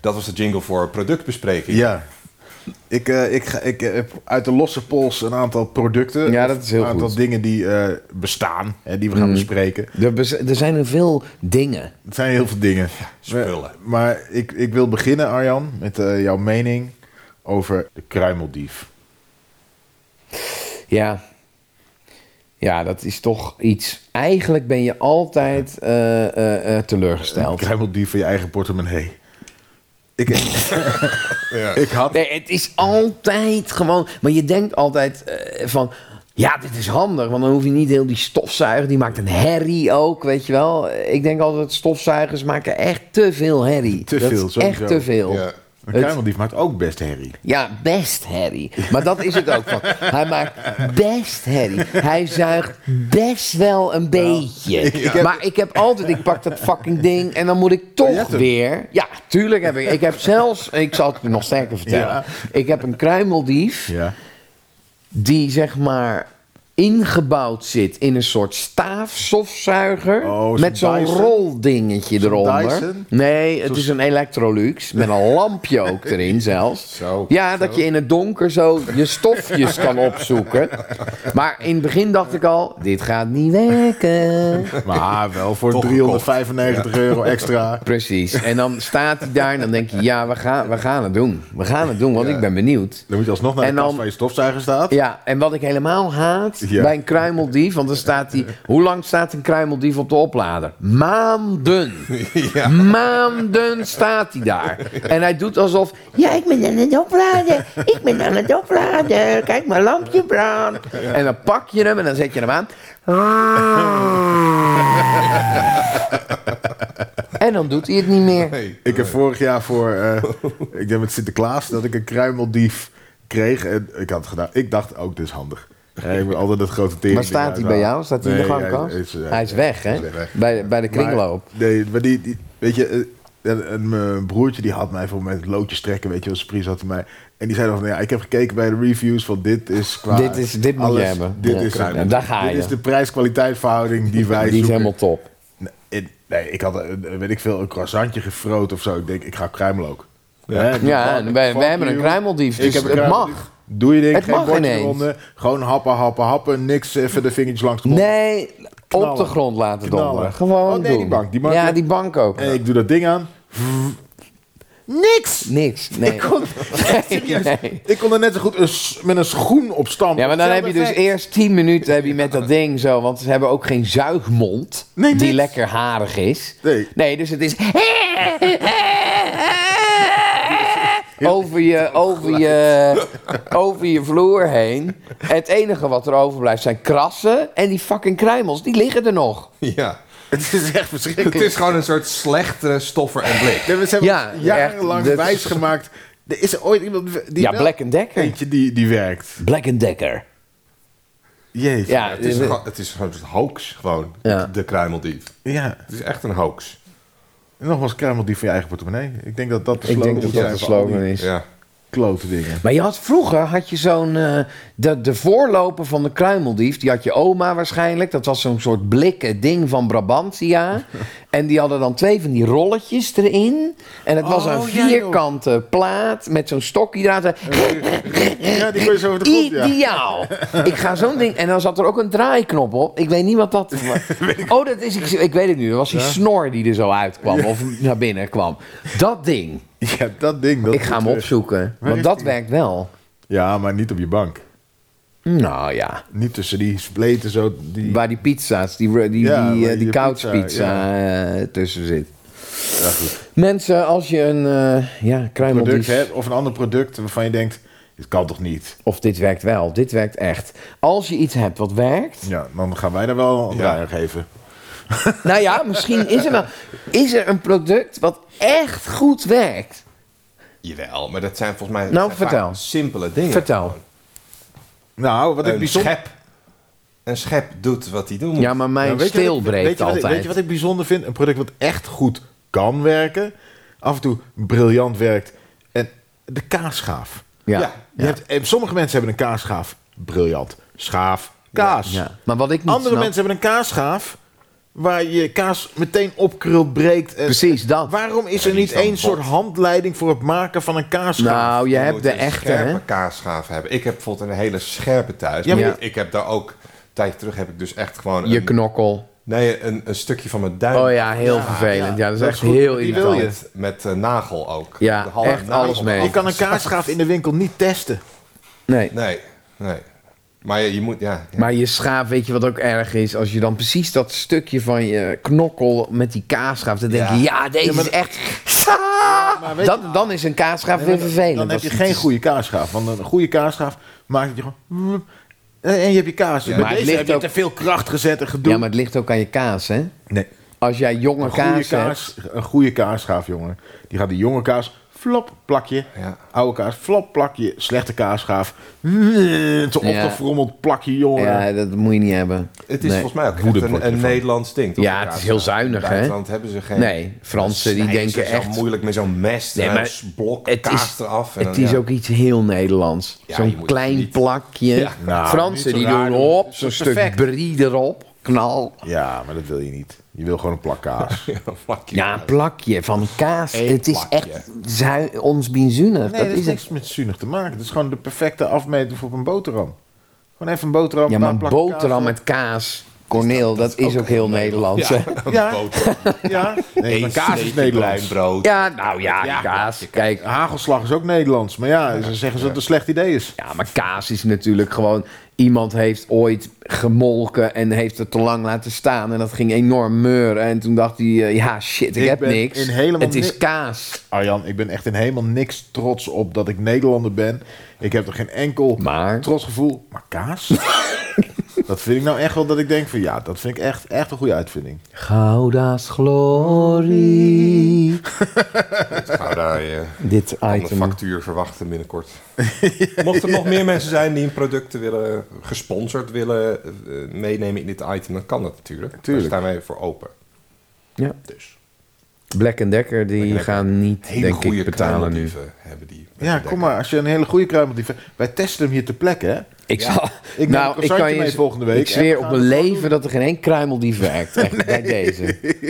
[SPEAKER 2] Dat was de jingle voor productbespreking.
[SPEAKER 3] ja. Ik, eh, ik, ga, ik heb uit de losse pols een aantal producten.
[SPEAKER 4] Ja, dat is heel
[SPEAKER 3] Een aantal
[SPEAKER 4] goed. Mm.
[SPEAKER 3] dingen die eh, bestaan, hè, die we gaan bespreken.
[SPEAKER 4] Er, bes- er zijn er veel dingen.
[SPEAKER 3] Het zijn heel veel dingen.
[SPEAKER 2] spullen.
[SPEAKER 3] Maar, maar ik, ik wil beginnen, Arjan, met eh, jouw mening over de kruimeldief.
[SPEAKER 4] Ja. Ja, dat is toch iets. Eigenlijk ben je altijd eh, eh, eh, teleurgesteld.
[SPEAKER 3] Kruimeldief van je eigen portemonnee. Ik, ik had...
[SPEAKER 4] Nee, het is altijd gewoon. Maar je denkt altijd eh, van. Ja, dit is handig, want dan hoef je niet heel die stofzuiger. Die maakt een herrie ook, weet je wel. Ik denk altijd, stofzuigers maken echt te veel herrie.
[SPEAKER 3] Te
[SPEAKER 4] Dat
[SPEAKER 3] veel,
[SPEAKER 4] is
[SPEAKER 3] sowieso.
[SPEAKER 4] Echt te veel.
[SPEAKER 2] Ja.
[SPEAKER 3] Een
[SPEAKER 4] Het-
[SPEAKER 3] kruimeldief maakt ook best herrie.
[SPEAKER 4] Ja, best herrie. Maar dat is het ook van. Hij maakt best herrie. Hij zuigt best wel een beetje. Maar Nou, ik heb altijd, ik pak dat fucking ding en dan moet ik
[SPEAKER 3] je
[SPEAKER 4] toch
[SPEAKER 3] hebt hem.
[SPEAKER 4] weer. Ja, tuurlijk heb ik. Ik heb zelfs, ik zal het nog sterker vertellen.
[SPEAKER 3] Ja.
[SPEAKER 4] Ik heb een kruimeldief
[SPEAKER 3] Ja.
[SPEAKER 4] die zeg maar ingebouwd zit in een soort staafstofzuiger
[SPEAKER 3] Oh, zo'n
[SPEAKER 4] met zo'n
[SPEAKER 3] Dyson?
[SPEAKER 4] roldingetje
[SPEAKER 3] Zo'n
[SPEAKER 4] eronder.
[SPEAKER 3] Dyson?
[SPEAKER 4] Nee, het is een Electrolux met een lampje ook erin zelfs.
[SPEAKER 2] Zo.
[SPEAKER 4] Ja, dat je in het donker zo je stofjes kan opzoeken. Maar in het begin dacht ik al, dit gaat niet werken.
[SPEAKER 3] Maar wel voor
[SPEAKER 2] Toch
[SPEAKER 3] 395 euro extra.
[SPEAKER 4] Precies. En dan staat hij daar en dan denk je, ja, we gaan, we gaan het doen. We gaan het doen, want ik ben benieuwd.
[SPEAKER 3] Dan moet je alsnog naar de
[SPEAKER 4] En
[SPEAKER 3] kast
[SPEAKER 4] dan-
[SPEAKER 3] waar je stofzuiger staat.
[SPEAKER 4] Ja, en wat ik helemaal haat,
[SPEAKER 3] Ja.
[SPEAKER 4] bij een kruimeldief. Want dan staat die... Hoe lang staat een kruimeldief op de oplader? Maanden. Maanden staat hij daar. En hij doet alsof... Ja, ik ben aan het opladen. Ik ben aan het opladen. Kijk, mijn lampje brandt. En dan pak je hem en dan zet je hem aan. En dan doet hij het niet meer.
[SPEAKER 2] Nee.
[SPEAKER 3] Ik heb vorig jaar voor, eh, ik denk met Sinterklaas, dat ik een kruimeldief kreeg. En ik had het gedaan. Ik dacht ook, dit is handig. Ja, ik ben altijd het grote tering.
[SPEAKER 4] Maar staat hij bij jou? Staat hij in de gangkast? Hij is,
[SPEAKER 3] eh,
[SPEAKER 4] weg, hè? Bij, bij de kringloop.
[SPEAKER 3] nee, maar die, die weet je, eh, en, en mijn broertje die had mij voor met loodjes trekken, weet je, als surprise had hij mij. En die zei dan van, ja, ik heb gekeken bij de reviews van dit is qua
[SPEAKER 4] Dit is- dit moet je
[SPEAKER 3] alles,
[SPEAKER 4] hebben.
[SPEAKER 3] Dit
[SPEAKER 4] Ja,
[SPEAKER 3] is,
[SPEAKER 4] ja, daar ga
[SPEAKER 3] dit
[SPEAKER 4] je.
[SPEAKER 3] is de prijs-kwaliteit verhouding die wij
[SPEAKER 4] Die is
[SPEAKER 3] zoeken.
[SPEAKER 4] helemaal top.
[SPEAKER 3] Nee, ik- Nee, ik had, een, weet ik veel, een croissantje gefroot of zo. Ik denk, ik ga kruimel ook. Hè, die
[SPEAKER 4] Ja,
[SPEAKER 3] fuck-
[SPEAKER 4] en wij-
[SPEAKER 3] fuck
[SPEAKER 4] wij hebben een
[SPEAKER 3] you.
[SPEAKER 4] kruimeldief,
[SPEAKER 3] Ik
[SPEAKER 4] dus
[SPEAKER 3] heb een
[SPEAKER 4] het
[SPEAKER 3] kruimeldief.
[SPEAKER 4] mag.
[SPEAKER 3] Doe je ding,
[SPEAKER 4] Het
[SPEAKER 3] geen
[SPEAKER 4] mag
[SPEAKER 3] bordje
[SPEAKER 4] ineens.
[SPEAKER 3] eronder. Gewoon happen, happen, happen. Niks even de vingertjes langs de mond.
[SPEAKER 4] Nee, op de
[SPEAKER 3] Knallen.
[SPEAKER 4] grond laten
[SPEAKER 3] Knallen.
[SPEAKER 4] donderen. Gewoon
[SPEAKER 3] Oh, nee, die
[SPEAKER 4] doen.
[SPEAKER 3] bank, die bank,
[SPEAKER 4] ja,
[SPEAKER 3] ja.
[SPEAKER 4] die bank ook.
[SPEAKER 3] En ik doe dat ding aan. Niks!
[SPEAKER 4] Niks. Nee. Nee, nee.
[SPEAKER 3] Ik kon er net zo goed een s- met een schoen op stampen.
[SPEAKER 4] Ja, maar dan heb je
[SPEAKER 3] Hetzelfde
[SPEAKER 4] dus
[SPEAKER 3] effect.
[SPEAKER 4] eerst 10 minuten heb je met dat ding zo, want ze hebben ook geen zuigmond
[SPEAKER 3] Nee,
[SPEAKER 4] die
[SPEAKER 3] niks.
[SPEAKER 4] lekker harig is.
[SPEAKER 3] Nee.
[SPEAKER 4] dus het is over je, over, je, over je vloer heen. Het enige wat er overblijft zijn krassen en die fucking kruimels, die liggen er nog.
[SPEAKER 2] Ja.
[SPEAKER 3] Het is echt
[SPEAKER 2] Het
[SPEAKER 3] verschrikkelijk.
[SPEAKER 2] is gewoon een soort slechtere stoffer en blik.
[SPEAKER 3] Nee, maar Ze hebben
[SPEAKER 4] Ja,
[SPEAKER 3] ons jarenlang
[SPEAKER 4] echt, dit-
[SPEAKER 3] wijsgemaakt. Er is er ooit iemand die
[SPEAKER 4] ja,
[SPEAKER 3] wel
[SPEAKER 4] Black Decker.
[SPEAKER 3] eentje die, die werkt.
[SPEAKER 4] Black Decker.
[SPEAKER 3] Jezus.
[SPEAKER 4] Ja,
[SPEAKER 2] Het is,
[SPEAKER 4] eh,
[SPEAKER 2] gewoon- het is gewoon een hoax, gewoon,
[SPEAKER 4] Ja.
[SPEAKER 2] de kruimeldief.
[SPEAKER 3] ja.
[SPEAKER 2] Het is echt een hoax.
[SPEAKER 3] En nogmaals, kruimel die van je eigen portemonnee. Ik denk dat dat de
[SPEAKER 4] Ik
[SPEAKER 3] slogan
[SPEAKER 4] denk dat
[SPEAKER 3] moet
[SPEAKER 4] dat
[SPEAKER 3] zijn
[SPEAKER 4] de
[SPEAKER 3] voor al die
[SPEAKER 4] slogan is.
[SPEAKER 2] Ja.
[SPEAKER 3] Klote dingen.
[SPEAKER 4] Maar je had vroeger had je zo'n eh, de, de voorloper van de kruimeldief, die had je oma waarschijnlijk. Dat was zo'n soort blikken ding van Brabantia. en die hadden dan twee van die rolletjes erin. En het was
[SPEAKER 3] Oh,
[SPEAKER 4] een
[SPEAKER 3] ja, joh.
[SPEAKER 4] vierkante plaat met zo'n stokje eraan.
[SPEAKER 3] Ja, die kon je zo over de grond, ja.
[SPEAKER 4] Ideaal. Ik ga zo'n ding. En dan zat er ook een draaiknop op. Ik weet niet wat dat. Oh, dat is. Ik, ik weet het nu. Dat was die snor die er zo uitkwam. Of naar binnen kwam. Dat ding.
[SPEAKER 3] Ja, dat ding. Dat
[SPEAKER 4] Ik ga hem
[SPEAKER 3] moet, eh,
[SPEAKER 4] opzoeken.
[SPEAKER 3] is
[SPEAKER 4] Want dat
[SPEAKER 3] die?
[SPEAKER 4] werkt wel.
[SPEAKER 3] Ja, maar niet op je bank.
[SPEAKER 4] Nou ja.
[SPEAKER 3] Niet tussen die spleten zo. Die...
[SPEAKER 4] Waar die pizza's, die, die, die,
[SPEAKER 3] Ja,
[SPEAKER 4] eh,
[SPEAKER 3] waar
[SPEAKER 4] die
[SPEAKER 3] je
[SPEAKER 4] couchpizza
[SPEAKER 3] pizza,
[SPEAKER 4] eh, tussen zit.
[SPEAKER 3] Ja, goed.
[SPEAKER 4] Mensen, als je een eh ja,
[SPEAKER 3] Product,
[SPEAKER 4] kruimeldief...
[SPEAKER 3] hè, of een ander product waarvan je denkt, dit kan toch niet?
[SPEAKER 4] Of dit werkt wel, dit werkt echt. Als je iets hebt wat werkt...
[SPEAKER 3] Ja, dan gaan wij daar wel
[SPEAKER 2] Ja.
[SPEAKER 3] een draai aan geven.
[SPEAKER 4] nou ja, misschien is er wel... Is er een product wat echt goed werkt?
[SPEAKER 2] Jawel, maar dat zijn volgens mij
[SPEAKER 4] Nou,
[SPEAKER 2] dat zijn
[SPEAKER 4] vertel.
[SPEAKER 2] vaak simpele dingen.
[SPEAKER 4] Vertel.
[SPEAKER 3] Nou, wat ik
[SPEAKER 2] Een
[SPEAKER 3] bijzonder...
[SPEAKER 2] schep. Een schep doet wat hij doen moet.
[SPEAKER 4] Ja, maar mijn
[SPEAKER 3] Nou, weet je wat ik-
[SPEAKER 4] steel breekt
[SPEAKER 3] weet je wat ik-
[SPEAKER 4] altijd.
[SPEAKER 3] weet je wat ik bijzonder vind? Een product wat echt goed kan werken. Af en toe briljant werkt. En de kaasschaaf.
[SPEAKER 4] ja.
[SPEAKER 2] Ja.
[SPEAKER 3] Je hebt, eh, sommige mensen hebben een kaasschaaf. Briljant. Schaaf. Kaas.
[SPEAKER 4] Ja. Maar wat ik niet
[SPEAKER 3] Andere
[SPEAKER 4] snap-
[SPEAKER 3] mensen hebben een kaasschaaf. Waar je kaas meteen opkrult, breekt. En
[SPEAKER 4] Precies, dat.
[SPEAKER 3] Waarom is er
[SPEAKER 2] die
[SPEAKER 3] niet
[SPEAKER 2] is dan
[SPEAKER 3] één
[SPEAKER 2] bot.
[SPEAKER 3] soort handleiding voor het maken van een kaasschaaf?
[SPEAKER 4] Nou, je
[SPEAKER 2] Je
[SPEAKER 4] hebt
[SPEAKER 2] moet
[SPEAKER 4] de
[SPEAKER 2] een
[SPEAKER 4] echte,
[SPEAKER 2] scherpe
[SPEAKER 4] hè?
[SPEAKER 2] kaasschaaf hebben. Ik heb bijvoorbeeld een hele scherpe thuis.
[SPEAKER 3] Ja,
[SPEAKER 2] maar
[SPEAKER 4] maar-
[SPEAKER 2] ik- ik heb daar ook... Een tijdje terug heb ik dus echt gewoon...
[SPEAKER 4] Je
[SPEAKER 2] een-
[SPEAKER 4] knokkel.
[SPEAKER 2] Nee, een, een stukje van mijn duim.
[SPEAKER 4] Oh ja, heel vervelend. Ja, dat is
[SPEAKER 3] dat
[SPEAKER 4] echt
[SPEAKER 3] is goed.
[SPEAKER 4] heel
[SPEAKER 3] Die wil je.
[SPEAKER 4] irritant.
[SPEAKER 2] Met, met eh, nagel ook.
[SPEAKER 4] Ja,
[SPEAKER 2] De halve
[SPEAKER 4] echt alles mee.
[SPEAKER 3] je kan een kaasschaaf in de winkel niet testen.
[SPEAKER 4] Nee.
[SPEAKER 2] Nee, nee. Maar je, je moet, ja. ja.
[SPEAKER 4] Maar je schaaf, weet je wat ook erg is? Als je dan precies dat stukje van je knokkel met die kaasschaaf, dan denk
[SPEAKER 2] Ja.
[SPEAKER 4] je, ja, deze
[SPEAKER 3] Ja, maar
[SPEAKER 4] is echt...
[SPEAKER 3] maar weet
[SPEAKER 4] Dan, dan is een kaasschaaf weer vervelend.
[SPEAKER 3] Dan heb
[SPEAKER 4] als
[SPEAKER 3] je
[SPEAKER 4] het
[SPEAKER 3] geen
[SPEAKER 4] is-
[SPEAKER 3] goede kaasschaaf. Want een goede kaasschaaf maakt dat je gewoon... En en je hebt je kaas. Bij
[SPEAKER 4] maar het
[SPEAKER 3] deze
[SPEAKER 4] ligt
[SPEAKER 3] heb je
[SPEAKER 4] ook-
[SPEAKER 3] te veel kracht gezet en gedoe.
[SPEAKER 4] Ja, maar het ligt ook aan je kaas, hè?
[SPEAKER 3] Nee.
[SPEAKER 4] Als jij jonge
[SPEAKER 3] Een goede,
[SPEAKER 4] kaas,
[SPEAKER 3] kaas, een goede kaasschaaf, jongen. Die gaat de jonge kaas, flop, plak je.
[SPEAKER 2] Ja.
[SPEAKER 3] Oude kaas, flop, plak je. Slechte kaasschaaf, mm, te
[SPEAKER 4] Ja.
[SPEAKER 3] opgefrommeld plak je, jongen.
[SPEAKER 4] hebt, ja, dat moet je niet hebben.
[SPEAKER 2] Het is
[SPEAKER 4] Nee.
[SPEAKER 2] volgens mij ook echt
[SPEAKER 3] Woedend
[SPEAKER 2] een,
[SPEAKER 3] word je
[SPEAKER 2] een
[SPEAKER 3] ervan.
[SPEAKER 2] Nederlands ding. toch?
[SPEAKER 4] Ja, het is heel zuinig,
[SPEAKER 2] In
[SPEAKER 4] hè?
[SPEAKER 2] Duitsland hebben ze geen...
[SPEAKER 4] Nee, Fransen die
[SPEAKER 2] snijden ze
[SPEAKER 4] denken
[SPEAKER 2] zo
[SPEAKER 4] echt...
[SPEAKER 2] moeilijk met zo'n mes
[SPEAKER 4] Nee,
[SPEAKER 2] en
[SPEAKER 4] maar
[SPEAKER 2] een blok
[SPEAKER 4] het
[SPEAKER 2] kaas
[SPEAKER 4] is-
[SPEAKER 2] eraf. En
[SPEAKER 4] Het
[SPEAKER 2] dan,
[SPEAKER 4] is
[SPEAKER 2] ja.
[SPEAKER 4] ook iets heel Nederlands.
[SPEAKER 2] Ja, je
[SPEAKER 4] zo'n
[SPEAKER 2] moet
[SPEAKER 4] klein
[SPEAKER 2] niet-
[SPEAKER 4] plakje.
[SPEAKER 2] Ja.
[SPEAKER 3] Nou,
[SPEAKER 4] Fransen
[SPEAKER 3] niet
[SPEAKER 4] die
[SPEAKER 3] zo raar
[SPEAKER 4] doen
[SPEAKER 3] doen.
[SPEAKER 4] op, zo'n stuk
[SPEAKER 3] perfect.
[SPEAKER 4] brie erop. Knal.
[SPEAKER 3] Ja, maar dat wil je niet. Je wil gewoon een plak kaas.
[SPEAKER 2] Fuck you.
[SPEAKER 4] Ja, een plakje van kaas.
[SPEAKER 2] Eén
[SPEAKER 4] het is
[SPEAKER 2] plakje.
[SPEAKER 4] echt zui- ons benzunig.
[SPEAKER 3] Nee, dat,
[SPEAKER 4] dat is
[SPEAKER 3] heeft
[SPEAKER 4] het.
[SPEAKER 3] niks met zuinig te maken. Het is gewoon de perfecte afmeting voor op een boterham. Gewoon even een boterham.
[SPEAKER 4] Ja,
[SPEAKER 3] een
[SPEAKER 4] maar
[SPEAKER 3] paar
[SPEAKER 4] een
[SPEAKER 3] plakken kaas
[SPEAKER 4] boterham
[SPEAKER 3] op.
[SPEAKER 4] met kaas. Corneel, dat, is ook, heel Nederlands. hè?
[SPEAKER 3] Ja. Ja. Nee, maar kaas is Nederlands.
[SPEAKER 2] brood.
[SPEAKER 4] Ja, nou ja,
[SPEAKER 3] Ja,
[SPEAKER 4] kaas. Kijk,
[SPEAKER 3] Hagelslag is ook Nederlands. Maar ja, ze zeggen dat het een slecht idee is.
[SPEAKER 4] Ja, maar kaas is natuurlijk gewoon... Iemand heeft ooit gemolken en heeft het te lang laten staan. En dat ging enorm meuren. En toen dacht hij, eh, ja shit, ik,
[SPEAKER 3] Ik
[SPEAKER 4] heb
[SPEAKER 3] ben
[SPEAKER 4] niks.
[SPEAKER 3] in helemaal
[SPEAKER 4] het is
[SPEAKER 3] ni-
[SPEAKER 4] kaas.
[SPEAKER 3] Arjan, ik ben echt in helemaal niks trots op dat ik Nederlander ben. Ik heb er geen enkel
[SPEAKER 4] Maar?
[SPEAKER 3] trots gevoel. Maar kaas? dat vind ik nou echt wel dat ik denk van ja, dat vind ik echt, echt een goede uitvinding.
[SPEAKER 4] Gouda's glorie.
[SPEAKER 2] Ga daar je
[SPEAKER 4] Dit
[SPEAKER 2] een
[SPEAKER 4] item.
[SPEAKER 2] factuur verwachten binnenkort. Mochten er nog meer mensen zijn die hun producten willen, gesponsord willen eh, meenemen in dit item, dan kan dat natuurlijk.
[SPEAKER 3] Tuurlijk.
[SPEAKER 2] Daar staan wij voor open.
[SPEAKER 4] Ja.
[SPEAKER 2] Dus
[SPEAKER 4] Black Decker, die
[SPEAKER 2] Black Decker.
[SPEAKER 4] gaan niet,
[SPEAKER 2] hele
[SPEAKER 4] denk
[SPEAKER 2] goede
[SPEAKER 4] ik, betalen nu.
[SPEAKER 2] kruimeldieven hebben die.
[SPEAKER 3] Ja, kom maar. Als je een hele goede kruimel... die- Wij testen hem hier ter plekke, hè?
[SPEAKER 4] Ik, zal,
[SPEAKER 3] neem een
[SPEAKER 4] nou, ik
[SPEAKER 3] concertje
[SPEAKER 4] kan je
[SPEAKER 3] mee volgende week.
[SPEAKER 4] Ik
[SPEAKER 3] En
[SPEAKER 4] zweer
[SPEAKER 3] we
[SPEAKER 4] op
[SPEAKER 3] gaan
[SPEAKER 4] mijn
[SPEAKER 3] het gewoon
[SPEAKER 4] leven dat er geen één kruimel die werkt. Echt, bij deze.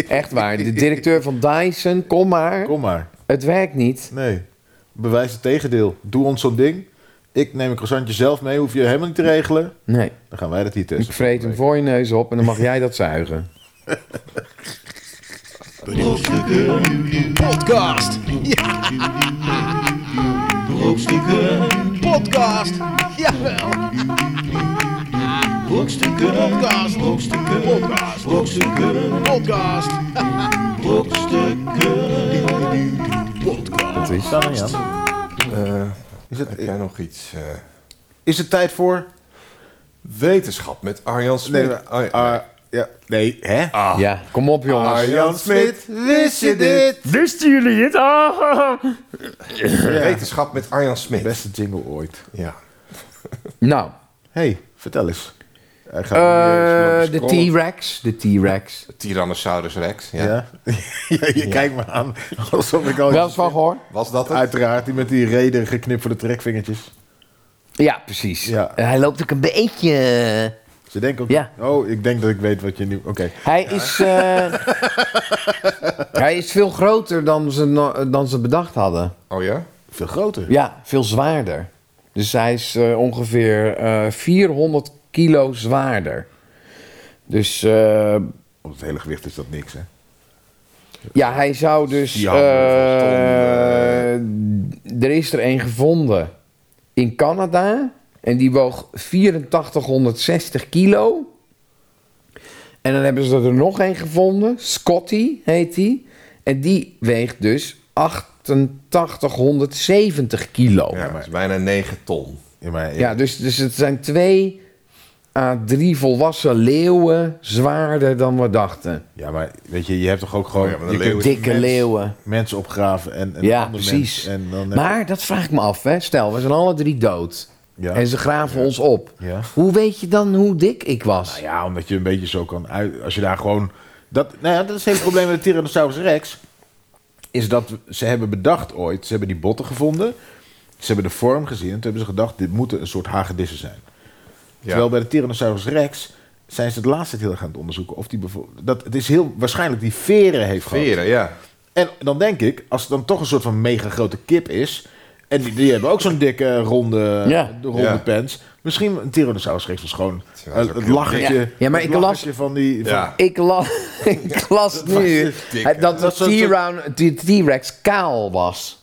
[SPEAKER 4] Echt waar. De directeur van Dyson, kom maar.
[SPEAKER 3] Kom maar.
[SPEAKER 4] Het werkt niet.
[SPEAKER 3] Nee. Bewijs het tegendeel. Doe ons zo'n ding. Ik neem een croissantje zelf mee. Hoef je helemaal niet te regelen.
[SPEAKER 4] Nee.
[SPEAKER 3] Dan gaan wij dat hier
[SPEAKER 4] Ik
[SPEAKER 3] testen.
[SPEAKER 4] vreet hem voor je neus op en dan mag jij dat zuigen.
[SPEAKER 1] Podcast. Ja. Brokstukken. Podcast. Jawel. Brokstukken. Podcast. Brokstukken. Podcast. Brokstukken. Podcast. Brokstukken. Podcast.
[SPEAKER 3] Is het,
[SPEAKER 2] Heb jij nog iets? eh,
[SPEAKER 3] is het tijd voor...
[SPEAKER 2] wetenschap met Arjan Smit.
[SPEAKER 3] Nee, maar-
[SPEAKER 2] Oh, ja.
[SPEAKER 3] ah, ja. nee hè?
[SPEAKER 2] Ah.
[SPEAKER 4] Ja, kom op jongens.
[SPEAKER 3] Arjan Smit, wist je dit?
[SPEAKER 5] Wisten jullie het? Ah,
[SPEAKER 2] Wetenschap met Arjan Smit.
[SPEAKER 3] Beste jingle ooit.
[SPEAKER 2] Ja.
[SPEAKER 4] Nou,
[SPEAKER 3] hey, vertel eens. Hij gaat
[SPEAKER 4] eh,
[SPEAKER 3] nu
[SPEAKER 4] de
[SPEAKER 3] eens lopen scrollen.
[SPEAKER 4] T-Rex. De T-Rex.
[SPEAKER 3] Oh,
[SPEAKER 2] Tyrannosaurus Rex. Ja.
[SPEAKER 3] Ja. ja, je kijkt me aan alsof ik al...
[SPEAKER 4] Wel eens van gehoord?
[SPEAKER 2] Was dat het?
[SPEAKER 3] Uiteraard, die met die reden geknipt voor de trekvingertjes.
[SPEAKER 4] Ja, precies.
[SPEAKER 3] Ja.
[SPEAKER 4] Hij loopt ook een beetje... eh,
[SPEAKER 3] Ze denken ook...
[SPEAKER 4] Ja.
[SPEAKER 3] Oh, ik denk dat ik weet wat je nu... Oké.
[SPEAKER 4] Hij is... eh, hij is veel groter dan ze, no- dan ze bedacht hadden.
[SPEAKER 2] Oh ja?
[SPEAKER 3] Veel groter.
[SPEAKER 4] Ja, veel zwaarder. Dus hij is eh, ongeveer eh, 400 kilo zwaarder. Dus eh,
[SPEAKER 3] Op het hele gewicht is dat niks, hè?
[SPEAKER 4] ja, hij zou dus.
[SPEAKER 3] Die handen
[SPEAKER 4] eh,
[SPEAKER 3] van
[SPEAKER 4] er is er een gevonden in Canada. En die woog 8460 kilo. En dan hebben ze er nog een gevonden. Scotty heet die. En die weegt dus 8870 kilo.
[SPEAKER 2] Ja, maar... is bijna 9 ton.
[SPEAKER 3] Ja, maar
[SPEAKER 4] Ja, dus, dus het zijn twee à drie volwassen leeuwen zwaarder dan we dachten.
[SPEAKER 3] Ja, maar weet je, je hebt toch ook gewoon...
[SPEAKER 2] Oh ja, maar de
[SPEAKER 3] je
[SPEAKER 2] leeuw
[SPEAKER 3] kunt
[SPEAKER 2] is-
[SPEAKER 4] Dikke
[SPEAKER 3] mens-
[SPEAKER 4] leeuwen.
[SPEAKER 3] Mensen opgraven en en
[SPEAKER 4] Ja,
[SPEAKER 3] ander
[SPEAKER 4] precies.
[SPEAKER 3] mens en dan,
[SPEAKER 4] Maar dat vraag ik me af, hè. Stel, we zijn alle drie dood.
[SPEAKER 3] Ja.
[SPEAKER 4] En ze graven ons op.
[SPEAKER 3] Ja. Nou
[SPEAKER 4] Hoe weet je dan hoe dik ik was?
[SPEAKER 3] Ja, omdat je een beetje zo kan uit... Als je daar gewoon... Dat, nou ja, dat is het hele probleem met de Tyrannosaurus Rex. Is dat ze hebben bedacht ooit... Ze hebben die botten gevonden. Ze hebben de vorm gezien. En toen hebben ze gedacht... Dit moeten een soort hagedissen zijn. Terwijl bij de Tyrannosaurus Rex... Zijn ze het laatste heel erg aan het onderzoeken. Of die bevo- dat, het is heel waarschijnlijk die veren heeft gehad.
[SPEAKER 2] Veren, ja.
[SPEAKER 3] En dan denk ik, als het dan toch een soort van mega grote kip is. En die, die hebben ook zo'n dikke ronde, eh,
[SPEAKER 4] Ja.
[SPEAKER 3] ronde
[SPEAKER 2] Ja.
[SPEAKER 3] pens. Misschien een Tyrannosaurus Rex was gewoon
[SPEAKER 2] Ja, dat is
[SPEAKER 3] het,
[SPEAKER 2] ook
[SPEAKER 3] het
[SPEAKER 2] heel
[SPEAKER 3] lachertje.
[SPEAKER 4] dik. Ja, maar
[SPEAKER 3] het
[SPEAKER 4] ik las-
[SPEAKER 3] lachertje van die. Van,
[SPEAKER 2] Ja.
[SPEAKER 4] Ik, la ik las nu
[SPEAKER 2] dik,
[SPEAKER 4] hè,
[SPEAKER 2] hè.
[SPEAKER 4] dat de
[SPEAKER 3] Dat was een soort-
[SPEAKER 4] T-round- de T-Rex kaal was.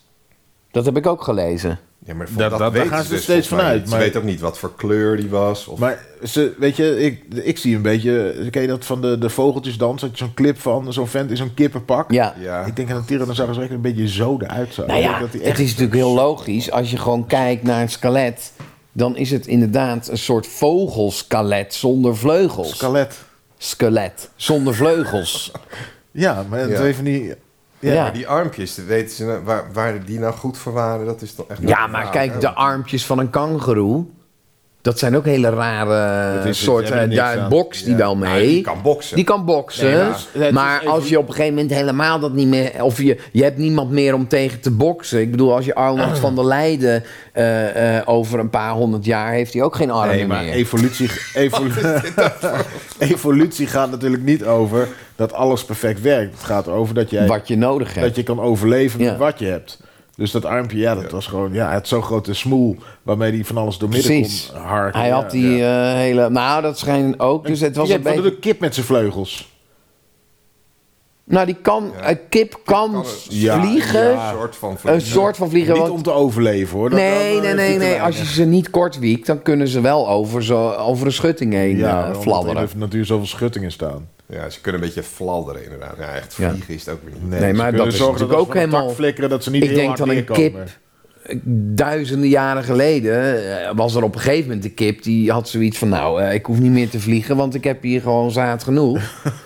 [SPEAKER 4] Dat heb ik ook gelezen.
[SPEAKER 2] Ja, maar
[SPEAKER 3] Dat-
[SPEAKER 2] dat,
[SPEAKER 3] dat-
[SPEAKER 2] dat,
[SPEAKER 3] daar
[SPEAKER 2] weten
[SPEAKER 3] gaan
[SPEAKER 2] ze
[SPEAKER 3] ze
[SPEAKER 2] dus
[SPEAKER 3] steeds
[SPEAKER 2] volgens mij
[SPEAKER 3] vanuit,
[SPEAKER 2] niet.
[SPEAKER 3] maar-
[SPEAKER 2] Ze weten ook niet wat voor kleur die was. Of...
[SPEAKER 3] Maar ze, weet je, ik, ik zie een beetje. Ken je dat van de, de vogeltjesdans? Dat je zo'n clip van zo'n vent in zo'n kippenpak.
[SPEAKER 4] Ja.
[SPEAKER 2] ja.
[SPEAKER 3] Ik denk dat een Tyrannosaurus Rex een beetje zo eruit zou.
[SPEAKER 4] Nou
[SPEAKER 3] Ik
[SPEAKER 4] ja,
[SPEAKER 3] denk dat hij
[SPEAKER 4] het
[SPEAKER 3] echt-
[SPEAKER 4] is natuurlijk heel logisch. Als je gewoon kijkt naar een skelet, dan is het inderdaad een soort vogelskelet zonder vleugels.
[SPEAKER 3] skelet.
[SPEAKER 4] skelet zonder vleugels.
[SPEAKER 3] Ja, maar het
[SPEAKER 2] Ja.
[SPEAKER 3] heeft van die. Ja.
[SPEAKER 4] Ja.
[SPEAKER 2] Maar die armpjes, weten ze nou- waar, waar die nou goed voor waren, dat is toch echt...
[SPEAKER 4] Ja, maar kijk, de armpjes van een kangeroe, dat zijn ook hele
[SPEAKER 3] Dat
[SPEAKER 4] rare
[SPEAKER 3] is het,
[SPEAKER 4] soort.
[SPEAKER 3] hebben er
[SPEAKER 4] eh,
[SPEAKER 3] niks
[SPEAKER 4] Ja,
[SPEAKER 3] aan.
[SPEAKER 4] een box die wel
[SPEAKER 2] Nou,
[SPEAKER 4] mee.
[SPEAKER 2] die kan boksen.
[SPEAKER 4] Die kan boksen.
[SPEAKER 2] Nee,
[SPEAKER 4] maar
[SPEAKER 2] maar-
[SPEAKER 3] Ja, het is even-
[SPEAKER 4] als je op een gegeven moment helemaal dat niet meer. Of je, je hebt niemand meer om tegen te boksen. Ik bedoel, als je Arnold van der Leijden eh, eh, over een paar honderd jaar heeft hij ook geen armen
[SPEAKER 3] Nee, maar
[SPEAKER 4] meer.
[SPEAKER 3] evolutie, evolu- evolutie gaat natuurlijk niet over dat alles perfect werkt. Het gaat over dat, jij,
[SPEAKER 4] wat je nodig hebt.
[SPEAKER 3] dat je kan overleven
[SPEAKER 4] Ja.
[SPEAKER 3] met wat je hebt. Dus dat armpje, ja, dat was gewoon... Ja, hij had zo'n grote smoel waarmee hij van alles doormidden
[SPEAKER 4] Precies.
[SPEAKER 3] kon harken.
[SPEAKER 4] Hij
[SPEAKER 3] Ja,
[SPEAKER 4] had die
[SPEAKER 3] ja.
[SPEAKER 4] eh, hele... Nou, dat schijnt ook. Dus het was
[SPEAKER 3] Je
[SPEAKER 4] een
[SPEAKER 3] hebt van
[SPEAKER 4] beetje...
[SPEAKER 3] de kip met zijn vleugels.
[SPEAKER 4] Nou, die kan...
[SPEAKER 2] Ja.
[SPEAKER 4] Een kip kan
[SPEAKER 2] kan een-
[SPEAKER 3] Ja,
[SPEAKER 4] vliegen.
[SPEAKER 3] ja.
[SPEAKER 2] Een soort van
[SPEAKER 4] Een
[SPEAKER 2] vliegen.
[SPEAKER 4] soort van vliegen.
[SPEAKER 3] Niet
[SPEAKER 4] want-
[SPEAKER 3] om te overleven, hoor. Dat-
[SPEAKER 4] Nee,
[SPEAKER 3] dat- dat-
[SPEAKER 4] nee, nee,
[SPEAKER 3] dat-
[SPEAKER 4] nee.
[SPEAKER 3] dat-
[SPEAKER 4] Als je ze niet kort wiekt, dan kunnen ze wel over, zo, over een schutting heen
[SPEAKER 3] Ja,
[SPEAKER 4] eh,
[SPEAKER 3] omdat er
[SPEAKER 4] fladderen.
[SPEAKER 3] heeft natuurlijk zoveel schuttingen staan.
[SPEAKER 2] Ja, ze kunnen een beetje fladderen inderdaad. Ja, echt
[SPEAKER 4] Ja.
[SPEAKER 2] vliegen is het ook weer niet.
[SPEAKER 4] Nee,
[SPEAKER 3] ze
[SPEAKER 4] maar
[SPEAKER 3] kunnen
[SPEAKER 4] dat is
[SPEAKER 3] zorgen
[SPEAKER 4] natuurlijk
[SPEAKER 3] ze
[SPEAKER 4] ook
[SPEAKER 3] van een tak
[SPEAKER 4] helemaal-
[SPEAKER 3] flikkeren dat ze niet
[SPEAKER 4] Ik
[SPEAKER 3] heel
[SPEAKER 4] denk
[SPEAKER 3] hard
[SPEAKER 4] dat een
[SPEAKER 3] neerkomen.
[SPEAKER 4] kip eh, duizenden jaren geleden eh, was er op een gegeven moment een kip die had zoiets van nou eh, ik hoef niet meer te vliegen want ik heb hier gewoon zaad genoeg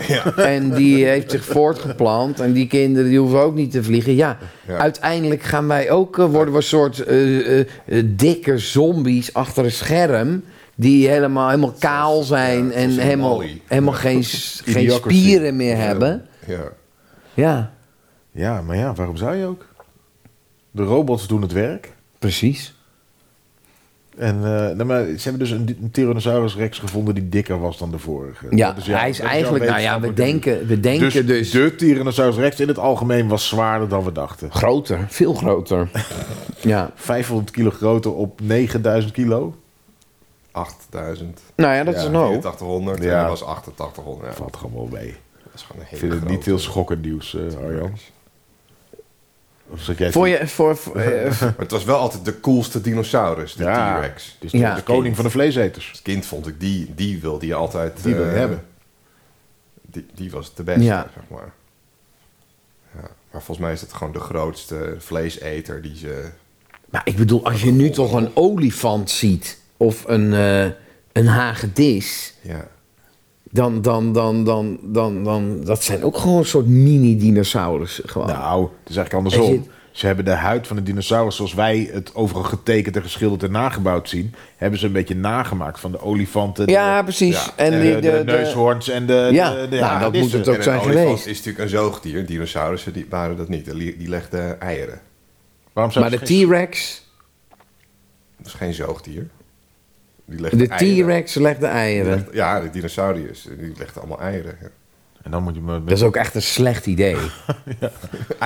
[SPEAKER 2] Ja.
[SPEAKER 4] en die heeft zich voortgeplant en die kinderen die hoeven ook niet te vliegen ja,
[SPEAKER 2] Ja.
[SPEAKER 4] uiteindelijk gaan wij ook eh, worden we een soort eh, eh, eh, dikke zombies achter een scherm die helemaal, helemaal kaal zijn
[SPEAKER 2] ja,
[SPEAKER 4] en
[SPEAKER 2] zoals in
[SPEAKER 4] helemaal,
[SPEAKER 2] Wall-E.
[SPEAKER 4] helemaal geen, s- geen
[SPEAKER 3] Idiocracy.
[SPEAKER 4] spieren meer hebben
[SPEAKER 2] ja.
[SPEAKER 4] ja
[SPEAKER 3] Ja, maar ja, waarom zou je ook? De robots doen het werk.
[SPEAKER 4] precies
[SPEAKER 3] En eh, nou, maar ze hebben dus een, di- een Tyrannosaurus Rex gevonden die dikker was dan de vorige. Dus
[SPEAKER 4] ja,
[SPEAKER 3] Dat
[SPEAKER 4] hij is
[SPEAKER 3] dat jouw
[SPEAKER 4] eigenlijk nou ja we
[SPEAKER 3] wetenschappelijke-
[SPEAKER 4] denken, we denken
[SPEAKER 3] Dus,
[SPEAKER 4] dus
[SPEAKER 3] de Tyrannosaurus Rex in het algemeen was zwaarder dan we dachten.
[SPEAKER 4] Groter. Veel groter. ja.
[SPEAKER 3] 500 kilo groter op 9000 kilo.
[SPEAKER 2] 8000.
[SPEAKER 4] Nou ja, dat is een hoop.
[SPEAKER 2] 8400
[SPEAKER 3] Ja.
[SPEAKER 2] en dat was 8800. Ja,
[SPEAKER 3] Valt gewoon wel mee.
[SPEAKER 2] dat is gewoon een
[SPEAKER 3] Ik
[SPEAKER 2] hele
[SPEAKER 3] vind het niet
[SPEAKER 2] grote.
[SPEAKER 3] heel schokkend nieuws, eh, Arjan. Of zeg jij
[SPEAKER 4] Voor je, voor, voor- eh,
[SPEAKER 2] Maar het was wel altijd de coolste dinosaurus, de
[SPEAKER 3] Ja,
[SPEAKER 2] T-Rex.
[SPEAKER 3] het is toch
[SPEAKER 4] Ja.
[SPEAKER 3] de koning van de vleeseters.
[SPEAKER 2] Als kind vond ik die, die wilde je altijd
[SPEAKER 3] Die wil je
[SPEAKER 2] eh,
[SPEAKER 3] hebben.
[SPEAKER 2] Die, die was de beste,
[SPEAKER 4] Ja.
[SPEAKER 2] zeg maar. Ja, maar volgens mij is dat gewoon de grootste vleeseter die ze.
[SPEAKER 4] maar ik bedoel, als je nu toch een olifant ziet of een, eh, een hagedis,
[SPEAKER 2] Ja.
[SPEAKER 4] dan, dan, dan, dan, dan, dan, dat zijn ook gewoon een soort mini-dinosaurussen. Gewoon.
[SPEAKER 3] Nou, het is eigenlijk
[SPEAKER 4] Als
[SPEAKER 3] andersom.
[SPEAKER 4] je-
[SPEAKER 3] Ze hebben de huid van de dinosaurus zoals wij het overal getekend en geschilderd en nagebouwd zien. Hebben ze een beetje nagemaakt van de olifanten. de-
[SPEAKER 4] ja, precies.
[SPEAKER 2] Ja,
[SPEAKER 4] En,
[SPEAKER 3] en
[SPEAKER 4] die,
[SPEAKER 3] de,
[SPEAKER 4] de,
[SPEAKER 3] de neushoorns en de...
[SPEAKER 4] Ja,
[SPEAKER 3] de, de
[SPEAKER 4] nou, dat
[SPEAKER 3] hagedissen.
[SPEAKER 4] moet het ook
[SPEAKER 2] en
[SPEAKER 4] zijn
[SPEAKER 2] een olifant
[SPEAKER 4] geweest.
[SPEAKER 2] is natuurlijk een zoogdier. Dinosaurussen die waren dat niet. Die, die legden eieren.
[SPEAKER 3] Waarom zou
[SPEAKER 4] maar de
[SPEAKER 3] ze geen-
[SPEAKER 4] T-Rex,
[SPEAKER 2] Dat is geen zoogdier. Die legden
[SPEAKER 4] de
[SPEAKER 2] eieren.
[SPEAKER 4] T-Rex legt de
[SPEAKER 2] Die
[SPEAKER 4] eieren.
[SPEAKER 2] legden- Ja, de dinosauriërs. Die legden allemaal eieren. Ja.
[SPEAKER 3] En dan moet je me...
[SPEAKER 4] Dat
[SPEAKER 2] Dus-
[SPEAKER 4] is ook echt een slecht idee.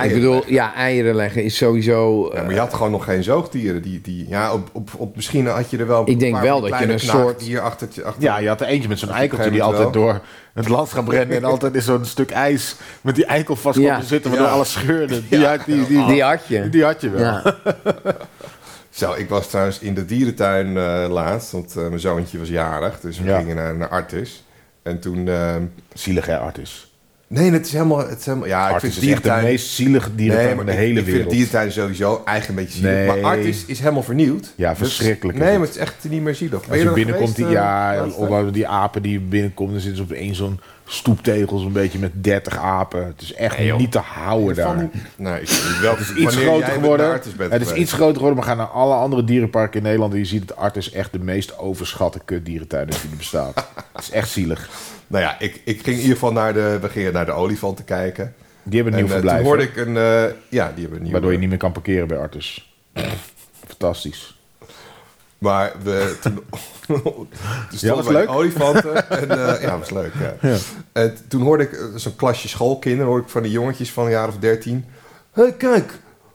[SPEAKER 4] Ik bedoel, ja, eieren leggen is sowieso...
[SPEAKER 2] Ja,
[SPEAKER 4] eh,
[SPEAKER 2] maar je had gewoon nog geen zoogdieren. Die, die, ja, op, op, op, misschien had je er wel.
[SPEAKER 4] Ik denk
[SPEAKER 2] een paar
[SPEAKER 4] wel
[SPEAKER 2] van die
[SPEAKER 4] dat je
[SPEAKER 2] kleine
[SPEAKER 4] een soort-
[SPEAKER 2] knaagdier achter, je- achter
[SPEAKER 3] Ja, je had er eentje met zo'n eikeltje die
[SPEAKER 2] gegeven moment
[SPEAKER 3] altijd door het land gaat rennen. En altijd in zo'n stuk ijs met die eikel vast
[SPEAKER 4] Ja.
[SPEAKER 3] komt te zitten, waardoor
[SPEAKER 2] Ja.
[SPEAKER 3] alles scheurde. Die, had, die, die,
[SPEAKER 4] Die had je.
[SPEAKER 3] Die had je wel.
[SPEAKER 4] ja.
[SPEAKER 2] Zo, ik was trouwens in de dierentuin eh, laatst, want eh, mijn zoontje was jarig, dus we
[SPEAKER 3] Ja.
[SPEAKER 2] gingen naar, naar Artis. En toen... ehm,
[SPEAKER 3] Zielig hè, Artis.
[SPEAKER 2] nee, het is helemaal... Het is helemaal ja,
[SPEAKER 3] Artis
[SPEAKER 2] ik
[SPEAKER 3] is
[SPEAKER 2] vind
[SPEAKER 3] echt de
[SPEAKER 2] dierentuin...
[SPEAKER 3] meest zielige dierentuin
[SPEAKER 2] nee,
[SPEAKER 3] van
[SPEAKER 2] maar
[SPEAKER 3] de
[SPEAKER 2] ik-
[SPEAKER 3] hele
[SPEAKER 2] ik vind
[SPEAKER 3] wereld.
[SPEAKER 2] dierentuin sowieso eigen een beetje zielig.
[SPEAKER 3] Nee.
[SPEAKER 2] Maar Artis is helemaal vernieuwd.
[SPEAKER 3] Ja,
[SPEAKER 2] Dus-
[SPEAKER 3] verschrikkelijk is
[SPEAKER 2] nee,
[SPEAKER 3] het.
[SPEAKER 2] maar het is echt niet meer zielig. Ben
[SPEAKER 3] Als
[SPEAKER 2] je
[SPEAKER 3] je
[SPEAKER 2] er
[SPEAKER 3] binnenkomt, die,
[SPEAKER 2] geweest, eh,
[SPEAKER 3] ja,
[SPEAKER 2] laatst?
[SPEAKER 3] onder die apen die binnenkomt, dan zitten ze opeens zo'n stoeptegel, zo'n beetje met 30 apen. Het is echt niet te houden daar.
[SPEAKER 2] Van- Nee, ik weet niet wel. Het is
[SPEAKER 3] Iets groter geworden.
[SPEAKER 2] Artis bent
[SPEAKER 3] het is
[SPEAKER 2] geweest.
[SPEAKER 3] iets groter geworden, maar ga naar alle andere dierenparken in Nederland en je ziet dat Artis echt de meest overschatte kutdierentuin is die er bestaat. Het is echt zielig.
[SPEAKER 2] Nou ja, ik, ik ging in ieder geval naar de... We gingen naar de olifant te kijken.
[SPEAKER 3] Die hebben een nieuw
[SPEAKER 2] en eh,
[SPEAKER 3] verblijf.
[SPEAKER 2] toen hoorde ik een... eh, ja, die hebben een nieuw...
[SPEAKER 3] Waardoor je niet meer kan parkeren bij Artis. Fantastisch.
[SPEAKER 2] Maar we, toen, toen stonden
[SPEAKER 3] was
[SPEAKER 2] we bij
[SPEAKER 3] leuk.
[SPEAKER 2] de olifanten. En, eh, ja, was leuk. Ja. En t- toen hoorde ik eh, zo'n klasje schoolkinderen, hoorde ik van die jongetjes van een jaar of dertien. Hé, hey, kijk,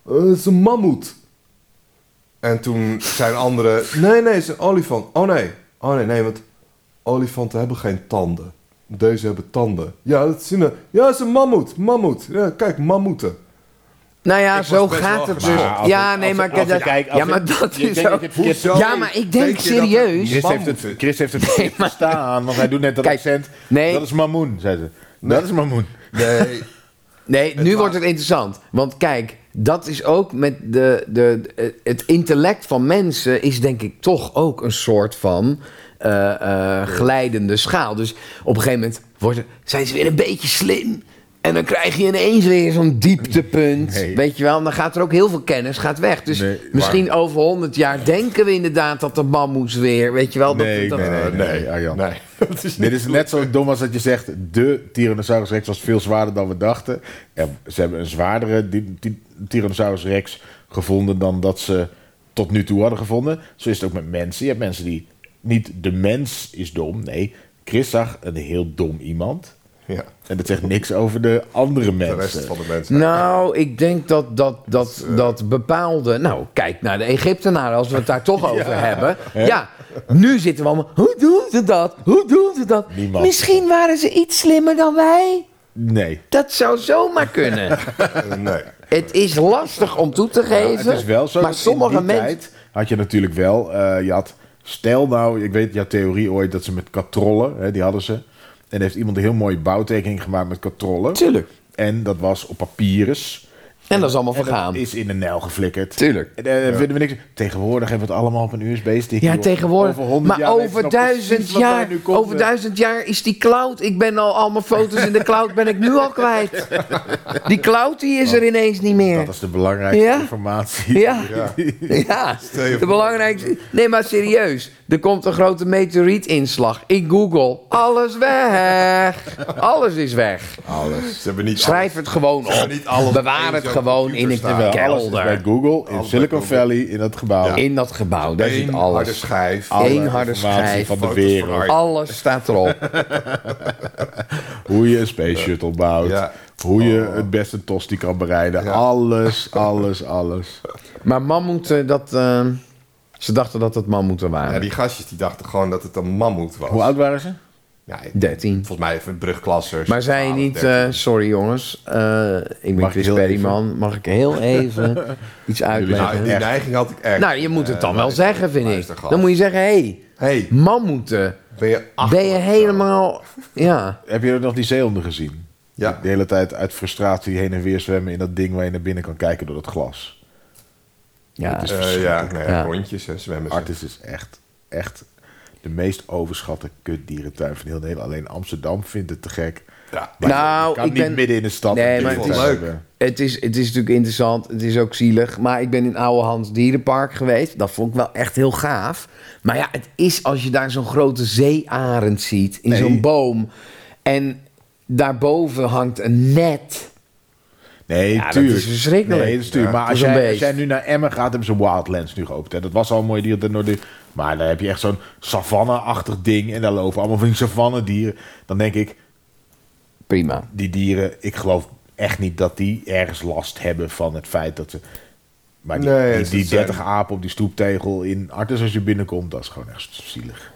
[SPEAKER 2] eh, het is een mammoet. En toen zijn anderen, nee, nee, het is een olifant. Oh nee, oh nee, nee, want olifanten hebben geen tanden. Deze hebben tanden. Ja, dat is een, ja, het is een mammoet, mammoet. Ja, kijk, mammoeten.
[SPEAKER 4] Nou ja,
[SPEAKER 2] Ik
[SPEAKER 4] zo
[SPEAKER 2] was best
[SPEAKER 4] gaat
[SPEAKER 2] wel
[SPEAKER 4] het dus.
[SPEAKER 2] gespaard.
[SPEAKER 3] Maar als
[SPEAKER 4] ja,
[SPEAKER 3] het-
[SPEAKER 4] nee,
[SPEAKER 3] als
[SPEAKER 4] maar
[SPEAKER 3] het-
[SPEAKER 4] kijk,
[SPEAKER 3] als het-
[SPEAKER 4] dat-
[SPEAKER 3] kijk, als
[SPEAKER 4] ja, maar
[SPEAKER 3] het-
[SPEAKER 4] dat
[SPEAKER 3] je
[SPEAKER 4] is
[SPEAKER 3] denkt
[SPEAKER 4] ook...
[SPEAKER 3] dat je het verkeerd-
[SPEAKER 4] Ja, maar ik denk
[SPEAKER 2] Weet je dat het
[SPEAKER 4] serieus.
[SPEAKER 3] Chris heeft, het,
[SPEAKER 2] mammoeten-
[SPEAKER 3] Chris heeft het verkeerd verstaan, want hij doet net dat
[SPEAKER 4] Kijk,
[SPEAKER 3] accent.
[SPEAKER 4] nee.
[SPEAKER 3] Dat is Mamoen, zei ze. Dat is Mamoen.
[SPEAKER 2] Nee,
[SPEAKER 4] Nee, nu
[SPEAKER 2] laat-
[SPEAKER 4] wordt het interessant. Want kijk, dat is ook met de, de, de- het intellect van mensen is denk ik toch ook een soort van eh, eh, glijdende schaal. Dus op een gegeven moment worden, zijn ze weer een beetje slim. En dan krijg je ineens weer zo'n dieptepunt.
[SPEAKER 3] Nee.
[SPEAKER 4] Weet je wel, en dan gaat er ook heel veel kennis gaat weg. Dus
[SPEAKER 3] Nee,
[SPEAKER 4] misschien over honderd jaar denken we inderdaad dat de mammoes weer. Weet je wel, Oh, dat,
[SPEAKER 3] Nee,
[SPEAKER 4] dat,
[SPEAKER 3] nee, nee.
[SPEAKER 2] eh,
[SPEAKER 3] Arjan.
[SPEAKER 2] nee. Dat is
[SPEAKER 3] Dit is net zo dom als dat je zegt... de Tyrannosaurus Rex was veel zwaarder dan we dachten. En ze hebben een zwaardere di- ti- Tyrannosaurus Rex gevonden... dan dat ze tot nu toe hadden gevonden. Zo is het ook met mensen. Je hebt mensen die... niet de mens is dom, nee. Chris zag een heel dom iemand...
[SPEAKER 2] Ja,
[SPEAKER 3] En dat zegt niks over de andere
[SPEAKER 2] de rest
[SPEAKER 3] mensen.
[SPEAKER 2] van de mensen.
[SPEAKER 4] Nou, ik denk dat, dat,
[SPEAKER 3] Dus,
[SPEAKER 4] dat,
[SPEAKER 3] eh,
[SPEAKER 4] dat bepaalde... Nou, kijk naar de Egyptenaren, als we het daar toch over hebben. Ja, nu zitten we allemaal... Hoe doen ze dat? Hoe doen ze dat?
[SPEAKER 3] Niemand.
[SPEAKER 4] Misschien waren ze iets slimmer dan wij.
[SPEAKER 3] Nee.
[SPEAKER 4] Dat zou zomaar kunnen.
[SPEAKER 2] Eh, Nee.
[SPEAKER 4] het is lastig om toe te geven.
[SPEAKER 3] Het is wel zo.
[SPEAKER 4] Maar
[SPEAKER 3] dat in
[SPEAKER 4] sommige
[SPEAKER 3] die
[SPEAKER 4] mensen...
[SPEAKER 3] tijd had je natuurlijk wel. eh, je had, stel nou, ik weet jouw theorie ooit dat ze met katrollen, hè, die hadden ze. En heeft iemand een heel mooie bouwtekening gemaakt met katrollen.
[SPEAKER 4] Tuurlijk.
[SPEAKER 3] En dat was op papyrus.
[SPEAKER 4] En dat is allemaal
[SPEAKER 3] En dat
[SPEAKER 4] vergaan.
[SPEAKER 3] is in de nijl geflikkerd.
[SPEAKER 4] Tuurlijk.
[SPEAKER 3] En, eh, vinden we niks. Tegenwoordig hebben we het allemaal op een USB-stick.
[SPEAKER 4] Ja, tegenwoordig. maar over duizend, jaar, over
[SPEAKER 3] duizend.
[SPEAKER 4] duizend jaar is die cloud. Ik ben al al mijn foto's in de cloud, ben ik nu al kwijt. Die cloud die is er ineens niet meer.
[SPEAKER 3] eh. Dat is de belangrijkste
[SPEAKER 4] Ja.
[SPEAKER 3] informatie.
[SPEAKER 4] Ja, ja. De belangrijkste. Nee, maar serieus. Er komt een grote meteorietinslag. Ik google. Alles weg. Alles is weg.
[SPEAKER 2] Alles. Ze hebben niet
[SPEAKER 4] Schrijf het gewoon
[SPEAKER 2] Ze
[SPEAKER 4] op.
[SPEAKER 2] hebben niet alles
[SPEAKER 4] Bewaar
[SPEAKER 2] op
[SPEAKER 4] het
[SPEAKER 2] één
[SPEAKER 4] gewoon in
[SPEAKER 2] computer
[SPEAKER 4] een
[SPEAKER 2] staan.
[SPEAKER 3] Alles is bij
[SPEAKER 4] kelder.
[SPEAKER 3] Google, in
[SPEAKER 2] Alles
[SPEAKER 3] Silicon
[SPEAKER 2] bij Google.
[SPEAKER 3] Valley, in dat gebouw.
[SPEAKER 4] In dat gebouw. Daar
[SPEAKER 2] één
[SPEAKER 4] zit
[SPEAKER 2] harde
[SPEAKER 4] alles.
[SPEAKER 2] schijf.
[SPEAKER 4] Eén
[SPEAKER 3] Alle
[SPEAKER 4] harde
[SPEAKER 3] informatie
[SPEAKER 4] schijf.
[SPEAKER 3] van de
[SPEAKER 2] Foto's
[SPEAKER 3] wereld.
[SPEAKER 2] van haar.
[SPEAKER 4] Alles staat erop.
[SPEAKER 3] Hoe je een space shuttle bouwt.
[SPEAKER 2] Ja.
[SPEAKER 3] Hoe je het beste tosti kan bereiden.
[SPEAKER 2] Ja.
[SPEAKER 3] Alles, alles, alles.
[SPEAKER 4] Maar mammoeten, dat... eh, ze dachten dat het mammoeten waren.
[SPEAKER 2] Ja, die gastjes die dachten gewoon dat het een mammoet was.
[SPEAKER 3] Hoe oud waren ze?
[SPEAKER 2] Ja,
[SPEAKER 4] 13.
[SPEAKER 2] volgens mij even brugklassers.
[SPEAKER 4] Maar zijn je
[SPEAKER 2] 12,
[SPEAKER 4] niet...
[SPEAKER 2] 13.
[SPEAKER 4] eh, sorry jongens, eh, ik ben
[SPEAKER 3] Mag ik
[SPEAKER 4] Chris
[SPEAKER 3] heel
[SPEAKER 4] Perryman. Mag ik heel even iets
[SPEAKER 2] nou,
[SPEAKER 4] uitleggen?
[SPEAKER 2] die
[SPEAKER 4] Nou,
[SPEAKER 2] neiging had ik echt.
[SPEAKER 4] je moet het dan
[SPEAKER 2] Eh,
[SPEAKER 4] wel
[SPEAKER 2] luister-
[SPEAKER 4] zeggen, vind
[SPEAKER 2] luister,
[SPEAKER 4] ik.
[SPEAKER 2] gast.
[SPEAKER 4] Dan moet je zeggen, hé, hey,
[SPEAKER 2] hey,
[SPEAKER 4] mammoeten.
[SPEAKER 2] ben je acht?
[SPEAKER 4] Ben je helemaal... Ja.
[SPEAKER 3] Heb je nog die zeehonden gezien?
[SPEAKER 2] Ja.
[SPEAKER 3] De hele tijd uit frustratie heen en weer zwemmen in dat ding waar je naar binnen kan kijken door dat glas.
[SPEAKER 4] ja.
[SPEAKER 2] Eh, ja, nou ja,
[SPEAKER 4] Ja.
[SPEAKER 2] rondjes, hè, zwemmen. ze.
[SPEAKER 3] Artis is echt, echt de meest overschatte kutdierentuin van heel Nederland. Alleen Amsterdam vindt het te gek.
[SPEAKER 2] Ja.
[SPEAKER 3] Maar
[SPEAKER 4] Nou,
[SPEAKER 3] je kan
[SPEAKER 4] ik
[SPEAKER 3] niet
[SPEAKER 4] ben-
[SPEAKER 3] midden in de stad.
[SPEAKER 4] Nee,
[SPEAKER 3] een
[SPEAKER 4] maar
[SPEAKER 2] het
[SPEAKER 3] dierentuin
[SPEAKER 2] is-
[SPEAKER 3] hebben.
[SPEAKER 4] Het is, het is natuurlijk interessant, het is ook zielig. Maar ik ben in Oude Hans Dierenpark geweest. Dat vond ik wel echt heel gaaf. Maar ja, het is als je daar zo'n grote zeearend ziet in
[SPEAKER 3] Nee.
[SPEAKER 4] zo'n boom. En daarboven hangt een net.
[SPEAKER 3] Nee,
[SPEAKER 4] Ja, dat
[SPEAKER 3] tuurlijk.
[SPEAKER 4] is verschrikkelijk.
[SPEAKER 3] Nee, dat is tuurlijk.
[SPEAKER 2] Ja,
[SPEAKER 3] maar
[SPEAKER 4] het
[SPEAKER 3] als
[SPEAKER 4] is een
[SPEAKER 3] jij, als
[SPEAKER 4] beest.
[SPEAKER 3] jij nu naar Emmen gaat, hebben ze Wildlands nu geopend. Hè. Dat was al een mooi dier. dat nooit deed. Maar dan heb je echt zo'n savanne-achtig ding. En daar lopen allemaal van die savanne-dieren. Dan denk ik,
[SPEAKER 4] Prima.
[SPEAKER 3] die dieren, ik geloof echt niet dat die ergens last hebben van het feit dat ze... Maar die,
[SPEAKER 2] Nee,
[SPEAKER 3] die,
[SPEAKER 2] ze
[SPEAKER 3] die
[SPEAKER 4] eh,
[SPEAKER 2] zijn-
[SPEAKER 3] 30 apen op die stoeptegel in Artes als je binnenkomt, dat is gewoon echt zielig.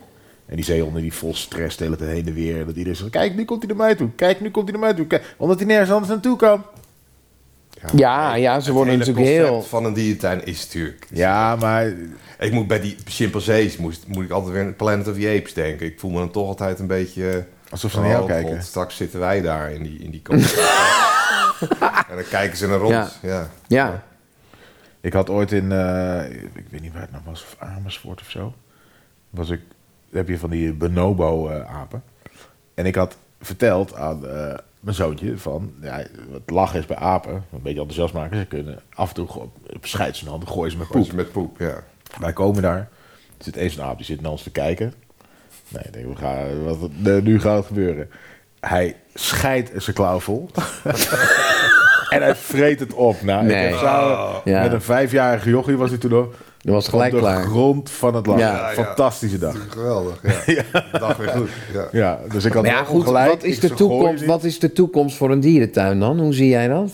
[SPEAKER 3] En die zeehonden die vol stress de hele tijd heen en weer. Dat iedereen zegt, kijk, nu komt hij naar mij toe. Kijk, nu komt hij naar mij toe. Kijk, omdat hij nergens anders naartoe kan.
[SPEAKER 4] Ja, ja ze worden
[SPEAKER 2] Het hele
[SPEAKER 4] natuurlijk heel...
[SPEAKER 2] concept van een dierentuin is natuurlijk...
[SPEAKER 3] Ja, maar
[SPEAKER 2] Ik moet bij die chimpansees moest, moet ik altijd weer aan Planet of the Apes denken. Ik voel me dan toch altijd een beetje... eh,
[SPEAKER 3] Alsof ze naar jou
[SPEAKER 2] oh,
[SPEAKER 3] kijken.
[SPEAKER 2] God, straks zitten wij daar in die, in die kast. en dan kijken ze naar rond.
[SPEAKER 4] Ja.
[SPEAKER 2] Ja.
[SPEAKER 4] Ja.
[SPEAKER 3] Ik had ooit in, eh, ik weet niet waar het nou was, of Amersfoort of zo. Was ik, heb je van die bonobo-apen. en ik had verteld aan eh, mijn zoontje van, ja, wat lachen is bij apen, een beetje enthousiast maken. Ze kunnen af en toe op, op scheids hun handen gooien ze met
[SPEAKER 2] Gooien
[SPEAKER 3] poep.
[SPEAKER 2] ze Met poep, ja.
[SPEAKER 3] Wij komen daar. Er zit eens een aap die zit naar ons te kijken. Nee, ik denk, we gaan, wat, nee, nu gaat het gebeuren. Hij scheidt zijn klauw vol. en hij vreet het op. Nou, ik
[SPEAKER 4] Nee.
[SPEAKER 3] heb samen
[SPEAKER 4] Ja.
[SPEAKER 3] Met een vijfjarige jochie was hij toen nog.
[SPEAKER 4] Dat was gelijk
[SPEAKER 3] op de
[SPEAKER 4] klaar.
[SPEAKER 3] grond van het land.
[SPEAKER 4] Ja. Ja,
[SPEAKER 2] ja.
[SPEAKER 3] Fantastische dag.
[SPEAKER 2] Geweldig, ja. Dag weer goed. Ja.
[SPEAKER 3] Ja, dus ik had
[SPEAKER 4] Maar ja,
[SPEAKER 3] wel
[SPEAKER 4] goed,
[SPEAKER 3] gelijk.
[SPEAKER 4] wat is,
[SPEAKER 3] Ik
[SPEAKER 4] de
[SPEAKER 3] vergooi
[SPEAKER 4] toekomst,
[SPEAKER 3] ze.
[SPEAKER 4] wat is de toekomst voor een dierentuin dan? Hoe zie jij dat?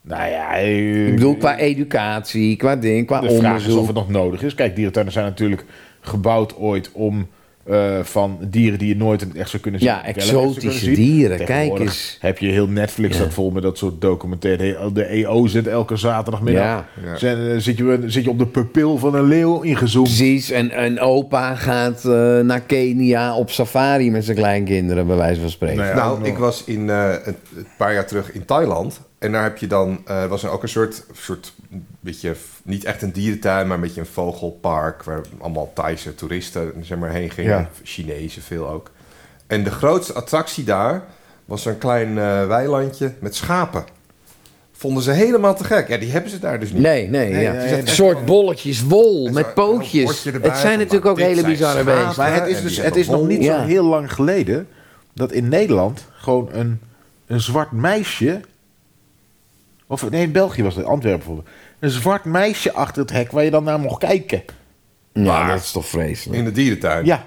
[SPEAKER 3] Nou ja,
[SPEAKER 4] Ik bedoel, qua educatie, qua ding, qua
[SPEAKER 3] De vraag is
[SPEAKER 4] onderzoek.
[SPEAKER 3] of het nog nodig is. Kijk, dierentuinen zijn natuurlijk gebouwd ooit om eh, van dieren die je nooit in het echt zou kunnen zien.
[SPEAKER 4] Ja,
[SPEAKER 3] wel in het echt zou
[SPEAKER 4] exotische
[SPEAKER 3] kunnen zien.
[SPEAKER 4] dieren, kijk
[SPEAKER 3] Tegenwoordig
[SPEAKER 4] eens.
[SPEAKER 3] Heb je heel Netflix
[SPEAKER 4] Ja.
[SPEAKER 3] dat vol met dat soort documentaire. oh, De EO zit elke zaterdagmiddag.
[SPEAKER 4] Ja.
[SPEAKER 2] Ja.
[SPEAKER 3] Zijn, eh, zit, je, zit je op de pupil van een leeuw ingezoomd?
[SPEAKER 4] Precies, en, en opa gaat eh, naar Kenia op safari met zijn kleinkinderen, bij wijze van spreken.
[SPEAKER 3] Nou ja.
[SPEAKER 2] nou, ik was in, eh, een, een paar jaar terug in Thailand. En daar heb je dan, eh, was er ook een soort, soort beetje, f- niet echt een dierentuin, maar een beetje een vogelpark. Waar allemaal Thaise toeristen zeg maar, heen gingen.
[SPEAKER 3] Ja.
[SPEAKER 2] Chinezen veel ook. En de grootste attractie daar was een klein eh, weilandje met schapen. Vonden ze helemaal te gek. Ja, die hebben ze daar dus niet.
[SPEAKER 4] Nee, nee,
[SPEAKER 3] Nee,
[SPEAKER 4] ja.
[SPEAKER 3] nee,
[SPEAKER 4] Het
[SPEAKER 3] nee.
[SPEAKER 4] is een soort bolletjes wol
[SPEAKER 2] En
[SPEAKER 4] met
[SPEAKER 2] zo- een
[SPEAKER 4] pootjes.
[SPEAKER 2] bordje erbij
[SPEAKER 4] Het zijn
[SPEAKER 2] van,
[SPEAKER 4] natuurlijk ook
[SPEAKER 2] dit
[SPEAKER 4] hele
[SPEAKER 2] zijn
[SPEAKER 4] bizarre
[SPEAKER 2] schapen.
[SPEAKER 4] beesten.
[SPEAKER 3] Maar het is,
[SPEAKER 2] En
[SPEAKER 3] dus,
[SPEAKER 2] die
[SPEAKER 3] het
[SPEAKER 2] hebben
[SPEAKER 3] is nog
[SPEAKER 2] wol.
[SPEAKER 3] niet
[SPEAKER 4] Ja.
[SPEAKER 3] zo heel lang geleden dat in Nederland gewoon een, een zwart meisje. Of nee, in België was het, Antwerpen bijvoorbeeld. Een zwart meisje achter het hek waar je dan naar mocht kijken.
[SPEAKER 4] Ja, dat is toch vreselijk.
[SPEAKER 2] In de dierentuin.
[SPEAKER 3] Ja.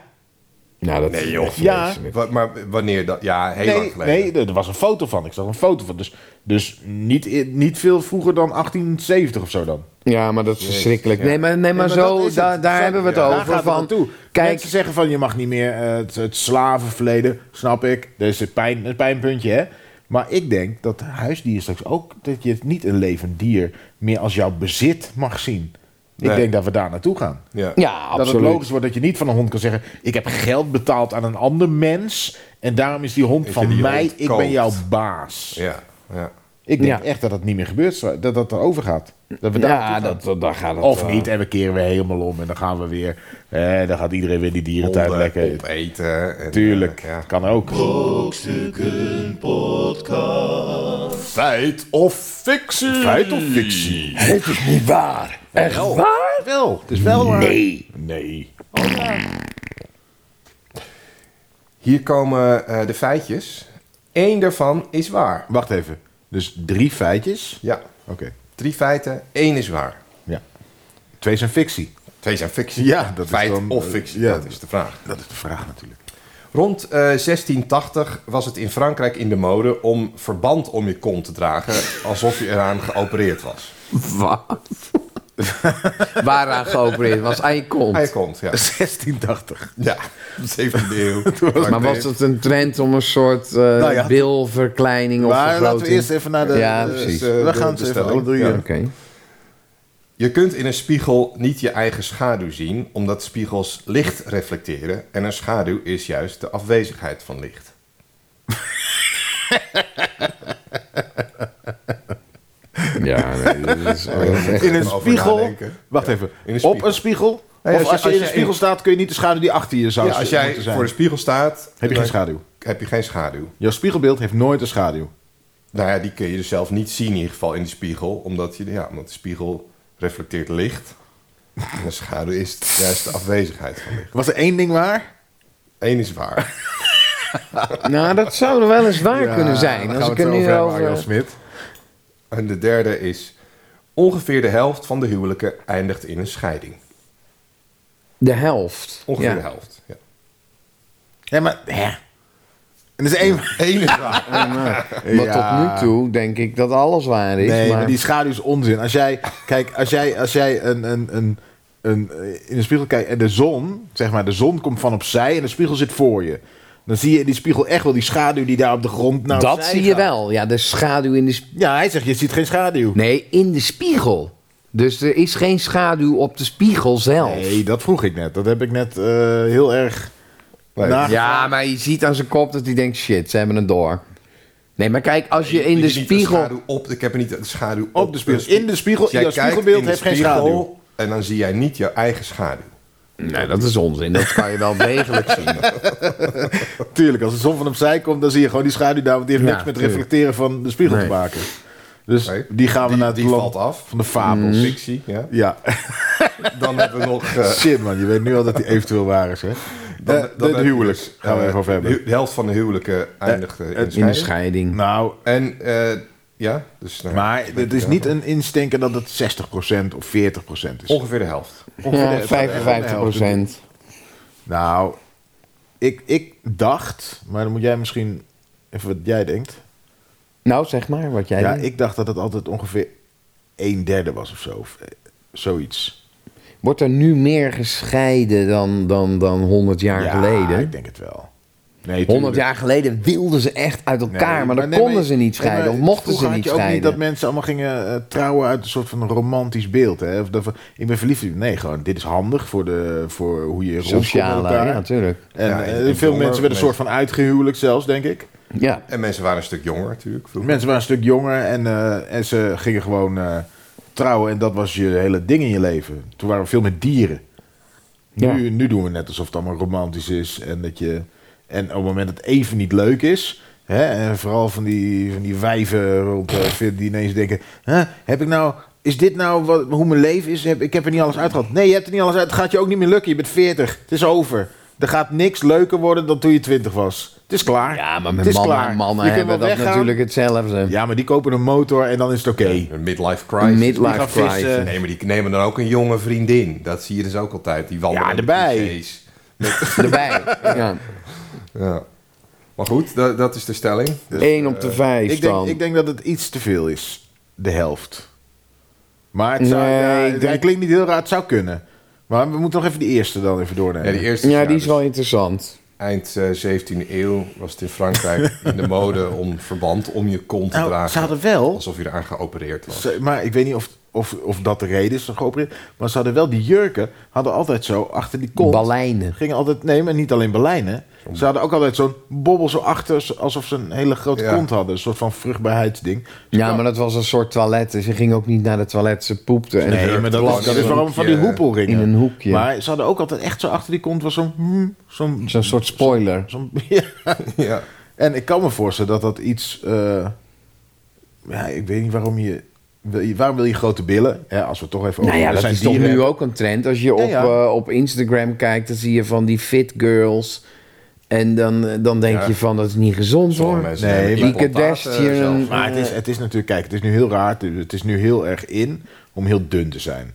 [SPEAKER 3] Nou, dat...
[SPEAKER 2] Nee, joh.
[SPEAKER 3] Ja,
[SPEAKER 2] Wa- maar wanneer dat? Ja, heel lang
[SPEAKER 3] nee,
[SPEAKER 2] geleden.
[SPEAKER 3] nee, er er was een foto van. Ik zag een foto van. Dus, dus niet, niet veel vroeger dan 1870 of zo dan.
[SPEAKER 4] Ja, maar dat is verschrikkelijk.
[SPEAKER 2] ja.
[SPEAKER 4] Nee, maar, nee, maar,
[SPEAKER 3] Ja, dat
[SPEAKER 4] zo,
[SPEAKER 3] is het.
[SPEAKER 4] da- daar
[SPEAKER 3] Zo-
[SPEAKER 4] hebben we het
[SPEAKER 2] ja.
[SPEAKER 3] Daar gaat
[SPEAKER 4] over.
[SPEAKER 3] het
[SPEAKER 4] Van,
[SPEAKER 3] naartoe.
[SPEAKER 4] kijk,
[SPEAKER 3] Mensen zeggen van je mag niet meer eh, het, het slavenverleden, snap ik. Dat is een, pijn, een pijnpuntje, hè. Maar ik denk dat huisdieren straks ook, dat je het niet een levend dier meer als jouw bezit mag zien.
[SPEAKER 2] Nee.
[SPEAKER 3] Ik denk dat we daar naartoe gaan.
[SPEAKER 2] Ja.
[SPEAKER 4] ja,
[SPEAKER 3] Dat het
[SPEAKER 4] absoluut.
[SPEAKER 3] logisch wordt dat je niet van een hond kan zeggen: Ik heb geld betaald aan een ander mens. En daarom is die hond
[SPEAKER 2] je
[SPEAKER 3] van
[SPEAKER 2] die
[SPEAKER 3] mij.
[SPEAKER 2] hond
[SPEAKER 3] ik
[SPEAKER 2] koopt."
[SPEAKER 3] ben jouw baas.
[SPEAKER 2] Ja, ja.
[SPEAKER 3] Ik denk
[SPEAKER 4] Ja.
[SPEAKER 3] echt dat dat niet meer gebeurt. Dat dat erover gaat. Dat we daar
[SPEAKER 4] Ja,
[SPEAKER 3] naartoe gaan.
[SPEAKER 4] dat, dat, daar gaat het.
[SPEAKER 3] Of
[SPEAKER 4] eh,
[SPEAKER 3] niet. En we keren weer helemaal om. En dan gaan we weer. Eh, dan gaat iedereen weer die dierentuin
[SPEAKER 2] Honden
[SPEAKER 3] lekker.
[SPEAKER 2] opeten. en,
[SPEAKER 3] Tuurlijk.
[SPEAKER 2] eh, ja.
[SPEAKER 3] Kan ook.
[SPEAKER 2] Feit of fictie?
[SPEAKER 3] Feit of fictie?
[SPEAKER 4] Het is niet waar. Echt waar?
[SPEAKER 3] Wel. Het is wel waar.
[SPEAKER 4] Nee.
[SPEAKER 3] Nee.
[SPEAKER 2] Hier komen eh, de feitjes. Eén daarvan is waar.
[SPEAKER 3] Wacht even. Dus drie feitjes.
[SPEAKER 2] Ja,
[SPEAKER 3] Oké.
[SPEAKER 2] drie feiten, één is waar.
[SPEAKER 3] Ja. Twee zijn fictie.
[SPEAKER 2] Twee zijn fictie.
[SPEAKER 3] Ja, dat is
[SPEAKER 2] Feit
[SPEAKER 3] dan-
[SPEAKER 2] of fictie,
[SPEAKER 3] ja.
[SPEAKER 2] dat is de vraag.
[SPEAKER 3] Dat is de vraag natuurlijk.
[SPEAKER 2] Rond eh, 1680 was het in Frankrijk in de mode om verband om je kont te dragen alsof je eraan geopereerd was.
[SPEAKER 4] Wat? Waaraan geopereerd? Was aan je kont.
[SPEAKER 2] Aan je kont, ja.
[SPEAKER 3] 1680.
[SPEAKER 2] Ja, 17e eeuw.
[SPEAKER 4] Maar was het een trend om een soort eh,
[SPEAKER 3] Nou ja.
[SPEAKER 4] bilverkleining of
[SPEAKER 3] Maar
[SPEAKER 4] vergroting?
[SPEAKER 3] laten we eerst even naar de.
[SPEAKER 4] Ja,
[SPEAKER 3] de-
[SPEAKER 4] precies.
[SPEAKER 3] we
[SPEAKER 2] eh, De-
[SPEAKER 3] gaan
[SPEAKER 2] de
[SPEAKER 3] ze even
[SPEAKER 2] stelling.
[SPEAKER 3] alle drie.
[SPEAKER 2] Ja.
[SPEAKER 3] eh,
[SPEAKER 4] Oké.
[SPEAKER 2] Je kunt in een spiegel niet je eigen schaduw zien, omdat spiegels licht reflecteren. En een schaduw is juist de afwezigheid van licht.
[SPEAKER 4] Ja, nee, dat
[SPEAKER 3] Oh,
[SPEAKER 4] is echt...
[SPEAKER 3] In een
[SPEAKER 2] Even over
[SPEAKER 3] spiegel.
[SPEAKER 2] nadenken.
[SPEAKER 3] Wacht even.
[SPEAKER 2] in een spiegel.
[SPEAKER 3] Op een spiegel.
[SPEAKER 2] Nee,
[SPEAKER 3] of als, je, in de spiegel staat, kun je niet de schaduw die achter je zou
[SPEAKER 2] Ja, als jij
[SPEAKER 3] moeten zijn.
[SPEAKER 2] voor de spiegel staat,
[SPEAKER 3] Heb je
[SPEAKER 2] dan
[SPEAKER 3] geen schaduw?
[SPEAKER 2] heb je geen schaduw.
[SPEAKER 3] Jouw spiegelbeeld heeft nooit een schaduw.
[SPEAKER 2] Nou ja, die kun je dus zelf niet zien in ieder geval in de spiegel, omdat, je, ja, omdat de spiegel reflecteert licht. En een schaduw is het juist de afwezigheid van licht.
[SPEAKER 3] Was er één ding waar?
[SPEAKER 2] Eén is waar.
[SPEAKER 4] Nou, dat zou er wel eens waar kunnen zijn. Als ik er nu over...
[SPEAKER 3] Smit.
[SPEAKER 2] En de derde is, ongeveer de helft van de huwelijken eindigt in een scheiding.
[SPEAKER 4] De helft.
[SPEAKER 2] Ongeveer
[SPEAKER 4] Ja.
[SPEAKER 2] de helft, ja.
[SPEAKER 3] Ja, maar... Hè? En er is één...
[SPEAKER 2] Eén is waar.
[SPEAKER 4] Ah, Maar
[SPEAKER 3] Ja.
[SPEAKER 4] tot nu toe denk ik dat alles waar is.
[SPEAKER 3] Nee,
[SPEAKER 4] maar...
[SPEAKER 3] maar... die schaduw is onzin. Als jij, kijk, als jij, als jij een, een, een, een, eh, in een spiegel kijkt en de zon, zeg maar, de zon komt van opzij en de spiegel zit voor je. Dan zie je in die spiegel echt wel die schaduw die daar op de grond naar
[SPEAKER 4] dat
[SPEAKER 3] opzij
[SPEAKER 4] zie je
[SPEAKER 3] gaat.
[SPEAKER 4] wel. Ja, de schaduw in de... sp-
[SPEAKER 3] Ja, hij zegt, je ziet geen schaduw.
[SPEAKER 4] Nee, in de spiegel. Dus er is geen schaduw op de spiegel zelf.
[SPEAKER 3] Nee, dat vroeg ik net. Dat heb ik net eh, heel erg... nagevraagd.
[SPEAKER 4] Ja, maar je ziet aan zijn kop dat hij denkt, shit, ze hebben het door. Nee, maar kijk, als je in
[SPEAKER 2] Ik
[SPEAKER 4] de
[SPEAKER 2] heb niet een
[SPEAKER 4] spiegel...
[SPEAKER 2] schaduw op, ik heb er niet een schaduw op.
[SPEAKER 3] Op de spiegel. In de spiegel,
[SPEAKER 2] Als jij
[SPEAKER 3] jouw
[SPEAKER 2] kijkt
[SPEAKER 3] spiegelbeeld
[SPEAKER 2] in de
[SPEAKER 3] heeft geen
[SPEAKER 2] spiegel
[SPEAKER 3] schaduw. Nou,
[SPEAKER 2] En dan zie jij niet jouw eigen schaduw.
[SPEAKER 4] Nee, dat is onzin. Dat kan je wel degelijk zien.
[SPEAKER 3] Tuurlijk, als de zon van opzij komt, dan zie je gewoon die schaduw daar. Want die heeft
[SPEAKER 4] Ja,
[SPEAKER 3] niks met
[SPEAKER 4] tuurlijk.
[SPEAKER 3] reflecteren van de spiegel
[SPEAKER 4] Nee.
[SPEAKER 3] te maken. Dus
[SPEAKER 2] Oké.
[SPEAKER 3] die gaan we
[SPEAKER 2] Die-
[SPEAKER 3] naar het Mhm.
[SPEAKER 2] die
[SPEAKER 3] land
[SPEAKER 2] valt af.
[SPEAKER 3] van de fabels.
[SPEAKER 4] Mhm.
[SPEAKER 2] Fictie, ja.
[SPEAKER 3] Ja,
[SPEAKER 2] Dan hebben we nog... eh,
[SPEAKER 3] shit man, je weet nu al dat die eventueel waar is. Hè?
[SPEAKER 2] dan,
[SPEAKER 3] Eh,
[SPEAKER 2] dan
[SPEAKER 3] de, de
[SPEAKER 2] heb je
[SPEAKER 3] huwelijks
[SPEAKER 2] dus,
[SPEAKER 3] gaan we
[SPEAKER 2] eh,
[SPEAKER 3] even over hebben.
[SPEAKER 2] hu- De helft van de huwelijken eindigt eh, in,
[SPEAKER 3] het-
[SPEAKER 4] In de
[SPEAKER 2] scheiding.
[SPEAKER 4] scheiding.
[SPEAKER 3] Nou,
[SPEAKER 2] En eh, ja, dus nou ja,
[SPEAKER 3] maar het is niet een instinken dat het 60% of 40% is.
[SPEAKER 2] ongeveer de helft.
[SPEAKER 4] Ja, 55 procent.
[SPEAKER 3] Nou, ik, ik dacht, maar dan moet jij misschien even wat jij denkt.
[SPEAKER 4] Nou, zeg maar wat jij
[SPEAKER 3] Ja,
[SPEAKER 4] denkt.
[SPEAKER 3] ik dacht dat het altijd ongeveer een derde was of zo. Of eh, zoiets.
[SPEAKER 4] Wordt er nu meer gescheiden dan, dan, dan 100 jaar
[SPEAKER 3] ja,
[SPEAKER 4] geleden?
[SPEAKER 3] ik denk het wel. Nee,
[SPEAKER 4] 100 jaar geleden wilden ze echt uit elkaar, maar dan konden ze niet scheiden. of mochten
[SPEAKER 3] je
[SPEAKER 4] ze niet
[SPEAKER 3] ook niet
[SPEAKER 4] scheiden.
[SPEAKER 3] dat mensen allemaal gingen eh, trouwen uit een soort van romantisch beeld. Hè? Of dat van, ik ben verliefd op je. Nee, gewoon, dit is handig voor, de, voor hoe je rondkomt met
[SPEAKER 4] Sociale, ja,
[SPEAKER 3] elkaar.
[SPEAKER 4] natuurlijk.
[SPEAKER 3] en,
[SPEAKER 2] Ja,
[SPEAKER 3] eh,
[SPEAKER 2] en- en jonger
[SPEAKER 3] veel mensen werden een
[SPEAKER 2] mensen.
[SPEAKER 3] soort van uitgehuwelijk zelfs, denk ik.
[SPEAKER 4] Ja.
[SPEAKER 2] En mensen waren een stuk jonger natuurlijk. vroeger.
[SPEAKER 3] Mensen waren een stuk jonger en, eh, en ze gingen gewoon eh, trouwen. En dat was je hele ding in je leven. Toen waren we veel met dieren.
[SPEAKER 4] Ja.
[SPEAKER 3] Nu, nu doen we net alsof het allemaal romantisch is. En, dat je, en op het moment dat het even niet leuk is... Hè, en vooral van die, van die wijven rond eh, veertig die ineens denken... Hè, heb ik nou... Is dit nou wat, hoe mijn leven is? Heb, ik heb er niet alles uit gehad. Nee, je hebt er niet alles uit. Het gaat je ook niet meer lukken. Je bent 40. Het is over. Er gaat niks leuker worden dan toen je 20 was. Het is klaar.
[SPEAKER 4] ja, maar
[SPEAKER 3] Het
[SPEAKER 4] met
[SPEAKER 3] is
[SPEAKER 4] mannen,
[SPEAKER 3] klaar.
[SPEAKER 4] en
[SPEAKER 3] Je
[SPEAKER 4] mannen
[SPEAKER 3] kunt wel
[SPEAKER 4] hebben dat
[SPEAKER 3] weggaan.
[SPEAKER 4] natuurlijk hetzelfde.
[SPEAKER 3] Ja, maar die kopen een motor en dan is het oké.
[SPEAKER 2] Een midlife crisis.
[SPEAKER 3] Die gaan
[SPEAKER 4] Midlife
[SPEAKER 3] vissen.
[SPEAKER 4] crisis.
[SPEAKER 2] Nee, maar die nemen dan ook een jonge vriendin. Dat zie je dus ook altijd. Die wandelen
[SPEAKER 3] Ja,
[SPEAKER 2] in de
[SPEAKER 3] erbij.
[SPEAKER 2] clichés.
[SPEAKER 4] erbij. Ja.
[SPEAKER 2] Ja. Maar goed, da- dat is de stelling.
[SPEAKER 3] Dus,
[SPEAKER 4] 1 op de 5
[SPEAKER 3] Ik
[SPEAKER 4] dan.
[SPEAKER 3] denk, ik denk dat het iets te veel is, de helft. Maar het, zou,
[SPEAKER 4] Nee,
[SPEAKER 3] ja,
[SPEAKER 4] ik
[SPEAKER 3] het-
[SPEAKER 4] denk-
[SPEAKER 3] het klinkt niet heel raar, het zou kunnen. Maar we moeten nog even die eerste dan even doornemen.
[SPEAKER 2] Ja, die eerste is,
[SPEAKER 4] ja, die
[SPEAKER 2] ja,
[SPEAKER 3] dus-
[SPEAKER 4] is wel interessant.
[SPEAKER 2] dus eind eh, 17e eeuw was het in Frankrijk in de mode om verband om je kont te
[SPEAKER 3] Nou, ze
[SPEAKER 2] dragen.
[SPEAKER 3] hadden wel,
[SPEAKER 2] Alsof je eraan geopereerd was.
[SPEAKER 3] ze- maar ik weet niet of, of, of dat de reden is, dat geopereerd, maar ze hadden wel die jurken, hadden altijd zo achter die kont.
[SPEAKER 4] Balijnen.
[SPEAKER 3] Gingen altijd, nee, maar niet alleen Berlijnen. Ze hadden ook altijd zo'n bobbel zo achter, zo- alsof ze een hele grote
[SPEAKER 2] Ja.
[SPEAKER 3] kont hadden. Een soort van vruchtbaarheidsding.
[SPEAKER 4] Ja, maar dat was een soort toilet. Ze ging ook niet naar de toilet, ze poepte. En
[SPEAKER 3] Nee, maar dat,
[SPEAKER 2] Gewoon
[SPEAKER 3] is,
[SPEAKER 2] in
[SPEAKER 3] dat is
[SPEAKER 2] een
[SPEAKER 3] waarom van die
[SPEAKER 2] hoekje.
[SPEAKER 3] hoepelringen.
[SPEAKER 4] In een hoekje.
[SPEAKER 3] Maar ze hadden ook altijd echt zo achter die kont was zo'n... hmm, zo'n,
[SPEAKER 4] Zo'n soort spoiler.
[SPEAKER 3] zo'n- ja.
[SPEAKER 2] Ja.
[SPEAKER 3] En ik kan me voorstellen dat dat iets... eh, ja, ik weet niet waarom je... wil je- Waarom wil je grote billen? Ja, als we het toch even
[SPEAKER 4] Nou ja,
[SPEAKER 3] er
[SPEAKER 4] dat
[SPEAKER 3] zijn
[SPEAKER 4] is toch
[SPEAKER 3] dieren-
[SPEAKER 4] nu ook een trend. Als je op,
[SPEAKER 3] ja.
[SPEAKER 4] eh, op Instagram kijkt, dan zie je van die fit girls. En dan, eh, dan denk
[SPEAKER 2] Ja.
[SPEAKER 4] je van, dat is niet gezond
[SPEAKER 2] Sommige
[SPEAKER 4] hoor.
[SPEAKER 2] mensen
[SPEAKER 3] Nee,
[SPEAKER 2] hebben
[SPEAKER 3] maar- Ah,
[SPEAKER 2] implantaten
[SPEAKER 4] Die Kardashian-
[SPEAKER 2] zelf.
[SPEAKER 3] Maar het is, het is natuurlijk, kijk, het is nu heel raar. Het is nu heel erg in om heel dun te zijn.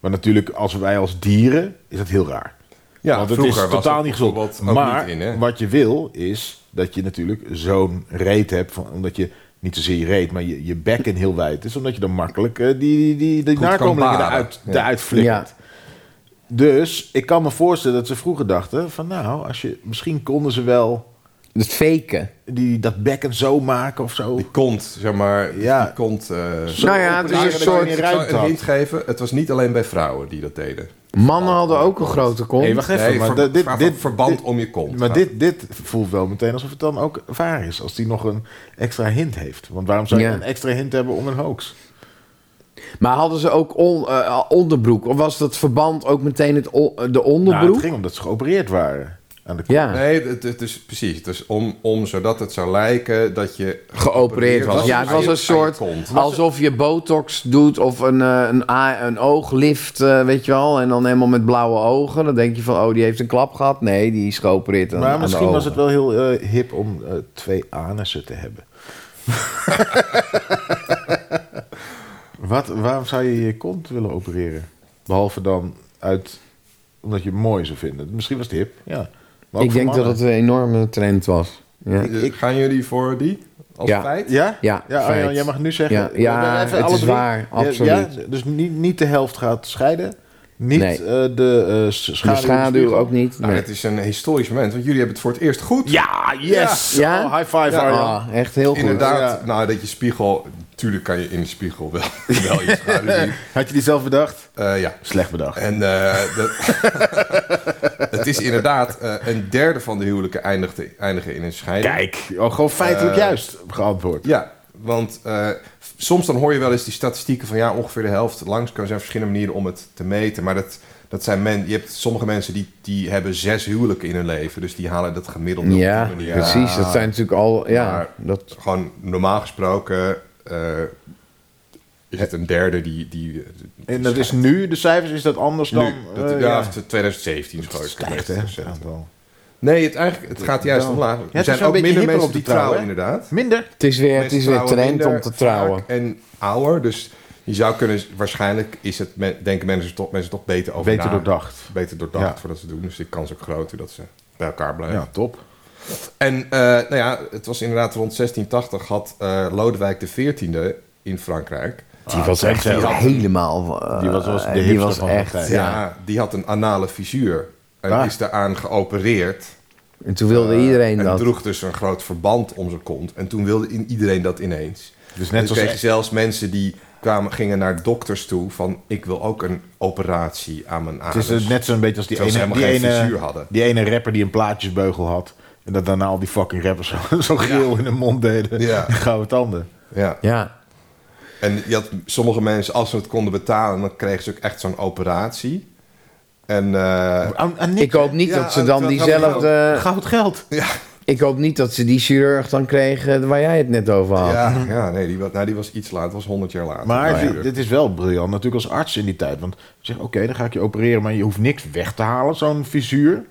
[SPEAKER 3] Maar natuurlijk, als wij als dieren, is dat heel raar.
[SPEAKER 2] Ja,
[SPEAKER 3] Want het
[SPEAKER 2] vroeger
[SPEAKER 3] is
[SPEAKER 2] was
[SPEAKER 3] totaal
[SPEAKER 2] het
[SPEAKER 3] niet gezond.
[SPEAKER 2] bijvoorbeeld ook
[SPEAKER 3] Maar
[SPEAKER 2] niet in, hè?
[SPEAKER 3] wat je wil is dat je natuurlijk zo'n reet hebt. Van, omdat je niet zozeer je reet, maar je, je bekken heel wijd is. Omdat je dan makkelijk eh, die, die, die, die
[SPEAKER 2] Goed
[SPEAKER 3] nakomelingen
[SPEAKER 2] kan baren.
[SPEAKER 3] eruit,
[SPEAKER 2] Ja.
[SPEAKER 3] eruit flikkert.
[SPEAKER 4] Ja.
[SPEAKER 3] Dus ik kan me voorstellen dat ze vroeger dachten: van nou, als je, misschien konden ze wel
[SPEAKER 4] Het faken.
[SPEAKER 3] die, dat bekken zo maken of zo.
[SPEAKER 2] Die kont, zeg maar.
[SPEAKER 3] Ja.
[SPEAKER 2] Die kont. eh,
[SPEAKER 4] Nou ja, het is
[SPEAKER 2] Eigenlijk
[SPEAKER 4] een
[SPEAKER 3] eigenlijk
[SPEAKER 2] zou
[SPEAKER 4] soort...
[SPEAKER 2] ik
[SPEAKER 3] meer
[SPEAKER 2] je
[SPEAKER 3] ruimte
[SPEAKER 2] een
[SPEAKER 3] had.
[SPEAKER 2] hint geven. Het was niet alleen bij vrouwen die dat deden.
[SPEAKER 4] Mannen
[SPEAKER 3] Oh,
[SPEAKER 4] hadden ook een grote kont.
[SPEAKER 3] Nee, wacht even.
[SPEAKER 2] Nee,
[SPEAKER 3] maar
[SPEAKER 2] ver-
[SPEAKER 3] dat- dit,
[SPEAKER 2] ver-
[SPEAKER 3] dit,
[SPEAKER 2] verband
[SPEAKER 3] dit-
[SPEAKER 2] om je kont.
[SPEAKER 3] Maar dit, dit voelt wel meteen alsof het dan ook waar is. Als die nog een extra hint heeft. Want waarom zou je
[SPEAKER 4] Ja.
[SPEAKER 3] een extra hint hebben om een hoax?
[SPEAKER 4] Maar hadden ze ook on- eh, onderbroek? Of was dat verband ook meteen het on- de
[SPEAKER 3] Nou, het
[SPEAKER 4] onderbroek?
[SPEAKER 3] ging omdat ze geopereerd waren. Aan de kop.
[SPEAKER 4] ja,
[SPEAKER 2] Nee, het, het is precies. Het is om, om zodat het zou lijken dat je
[SPEAKER 4] geopereerd was. Ja, het
[SPEAKER 2] aan
[SPEAKER 4] was
[SPEAKER 2] je-
[SPEAKER 4] een soort...
[SPEAKER 2] aan je kont.
[SPEAKER 4] Alsof je botox doet of een, eh, een, a- een ooglift, eh, weet je wel. En dan helemaal met blauwe ogen. Dan denk je van, oh, die heeft een klap gehad. Nee, die is geopereerd aan,
[SPEAKER 3] Maar
[SPEAKER 4] aan de
[SPEAKER 3] misschien was
[SPEAKER 4] ogen.
[SPEAKER 3] het wel heel eh, hip om eh, twee anussen te hebben. Wat, waarom zou je je kont willen opereren? Behalve dan uit, omdat je het mooi zou vinden. Misschien was het hip, ja. Maar ook
[SPEAKER 4] Ik
[SPEAKER 3] voor
[SPEAKER 4] denk dat
[SPEAKER 3] mannen.
[SPEAKER 4] het een enorme trend was. Ja,
[SPEAKER 2] Dus Gaan jullie voor die? Als
[SPEAKER 4] Ja.
[SPEAKER 2] feit?
[SPEAKER 3] Ja?
[SPEAKER 4] Ja,
[SPEAKER 3] ja
[SPEAKER 4] feit.
[SPEAKER 3] Arjan, jij mag nu zeggen.
[SPEAKER 4] Ja,
[SPEAKER 3] We
[SPEAKER 4] ja,
[SPEAKER 3] hebben even
[SPEAKER 4] het
[SPEAKER 3] alle
[SPEAKER 4] is waar, absoluut.
[SPEAKER 3] dus niet, niet de helft gaat scheiden. Niet
[SPEAKER 4] Nee.
[SPEAKER 3] eh, de eh, s- schaduw. in
[SPEAKER 4] de
[SPEAKER 3] de
[SPEAKER 4] schaduw
[SPEAKER 3] spiegel.
[SPEAKER 4] ook niet.
[SPEAKER 2] Nou,
[SPEAKER 4] Nee.
[SPEAKER 2] het is een historisch moment, want jullie hebben het voor het eerst goed.
[SPEAKER 3] Ja, yes!
[SPEAKER 4] Ja?
[SPEAKER 3] Oh, high five, Arjan.
[SPEAKER 4] Ah, echt heel goed.
[SPEAKER 2] Inderdaad,
[SPEAKER 3] Ja.
[SPEAKER 2] nou dat je spiegel, natuurlijk kan je in de spiegel wel, wel je schaduw zien.
[SPEAKER 4] Ah.
[SPEAKER 3] Had je die zelf bedacht?
[SPEAKER 2] Eh, ja,
[SPEAKER 3] Slecht bedacht.
[SPEAKER 2] En eh, dat- het is inderdaad, eh, een derde van de huwelijken eindigde, eindigen in een scheiding.
[SPEAKER 3] Kijk, oh, gewoon feitelijk
[SPEAKER 2] Eh,
[SPEAKER 3] juist geantwoord.
[SPEAKER 2] Ja, want eh, f- soms dan hoor je wel eens die statistieken van ja, ongeveer de helft langs kan zijn verschillende manieren om het te meten. Maar dat, dat zijn men, je hebt sommige mensen die, die hebben zes huwelijken in hun leven, dus die halen dat gemiddelde. op
[SPEAKER 4] Ja,
[SPEAKER 2] die manier.
[SPEAKER 4] precies. Dat zijn natuurlijk al... Ja,
[SPEAKER 2] Maar-
[SPEAKER 4] dat,
[SPEAKER 2] Gewoon normaal gesproken eh, is het een derde die. die
[SPEAKER 3] En dat is nu, de cijfers, is dat anders
[SPEAKER 2] nu,
[SPEAKER 3] dan...
[SPEAKER 2] dat,
[SPEAKER 3] eh,
[SPEAKER 2] ja, 2017 is
[SPEAKER 3] Het
[SPEAKER 2] groot.
[SPEAKER 3] stijgt, hè? het aantal.
[SPEAKER 2] Nee, het, eigenlijk, het gaat juist
[SPEAKER 3] Ja.
[SPEAKER 2] omlaag.
[SPEAKER 3] het
[SPEAKER 2] Er
[SPEAKER 3] is
[SPEAKER 2] zijn
[SPEAKER 3] wel
[SPEAKER 2] ook
[SPEAKER 3] een beetje
[SPEAKER 2] minder mensen
[SPEAKER 3] hipper om
[SPEAKER 2] die
[SPEAKER 3] te trouwen,
[SPEAKER 2] trouwen, inderdaad.
[SPEAKER 3] Minder?
[SPEAKER 4] Het is weer, het
[SPEAKER 2] Mensen
[SPEAKER 4] is weer
[SPEAKER 2] trouwen
[SPEAKER 4] trend om
[SPEAKER 2] minder
[SPEAKER 4] te
[SPEAKER 2] vaak
[SPEAKER 4] trouwen.
[SPEAKER 2] En ouder, dus je zou kunnen... Waarschijnlijk is het, men- denken mensen toch, mensen toch beter over
[SPEAKER 3] Beter
[SPEAKER 2] na.
[SPEAKER 3] doordacht.
[SPEAKER 2] Beter doordacht
[SPEAKER 3] Ja.
[SPEAKER 2] voordat ze het doen. Dus de kans ook groter dat ze bij elkaar blijven.
[SPEAKER 3] Ja, top.
[SPEAKER 2] En eh, nou ja, het was inderdaad rond 1680 had eh Lodewijk XIV in Frankrijk...
[SPEAKER 4] Die was echt
[SPEAKER 3] die had-
[SPEAKER 4] helemaal... eh,
[SPEAKER 3] die was- was de
[SPEAKER 4] die
[SPEAKER 3] hipster
[SPEAKER 4] was
[SPEAKER 3] van de
[SPEAKER 4] echt,
[SPEAKER 3] tijd.
[SPEAKER 2] Ja,
[SPEAKER 4] ja.
[SPEAKER 2] die had een anale fisuur. En
[SPEAKER 3] Ah.
[SPEAKER 2] is daaraan geopereerd.
[SPEAKER 4] En toen wilde iedereen
[SPEAKER 2] en
[SPEAKER 4] dat.
[SPEAKER 2] droeg dus een groot verband om zijn kont. En toen wilde in- iedereen dat ineens.
[SPEAKER 3] Dus
[SPEAKER 2] Net
[SPEAKER 3] net
[SPEAKER 2] toen kreeg je
[SPEAKER 3] zoals...
[SPEAKER 2] zelfs mensen die kwamen, gingen naar dokters toe van... ik wil ook een operatie aan mijn
[SPEAKER 3] Het
[SPEAKER 2] anus.
[SPEAKER 3] is eh, net zo'n beetje als die
[SPEAKER 2] Terwijl ze
[SPEAKER 3] ene, die,
[SPEAKER 2] helemaal geen
[SPEAKER 3] ene,
[SPEAKER 2] frisuur hadden.
[SPEAKER 3] die ene rapper die een plaatjesbeugel had. En dat daarna al die fucking rappers zo- zo'n geel in hun mond deden.
[SPEAKER 2] Ja.
[SPEAKER 3] En Gouden tanden.
[SPEAKER 2] Ja.
[SPEAKER 4] Ja.
[SPEAKER 2] En je had sommige mensen, als ze het konden betalen... dan kregen ze ook echt zo'n operatie. En eh,
[SPEAKER 3] Aan, aan
[SPEAKER 4] Ik
[SPEAKER 3] niks.
[SPEAKER 4] hoop niet
[SPEAKER 2] Ja,
[SPEAKER 4] dat ze
[SPEAKER 2] dat-
[SPEAKER 4] dan
[SPEAKER 2] dat-
[SPEAKER 4] diezelfde...
[SPEAKER 3] Goud geld.
[SPEAKER 4] Ik hoop niet dat ze die chirurg dan kregen waar jij het net over had.
[SPEAKER 2] ja, ja, nee, die, wa- nou, die was iets later. Het was 100 jaar later.
[SPEAKER 3] Maar
[SPEAKER 2] Nou ja.
[SPEAKER 3] dit- dit is wel briljant natuurlijk als arts in die tijd. Want je zegt, oké, dan ga ik je opereren. Maar je hoeft niks weg te halen, zo'n visuur.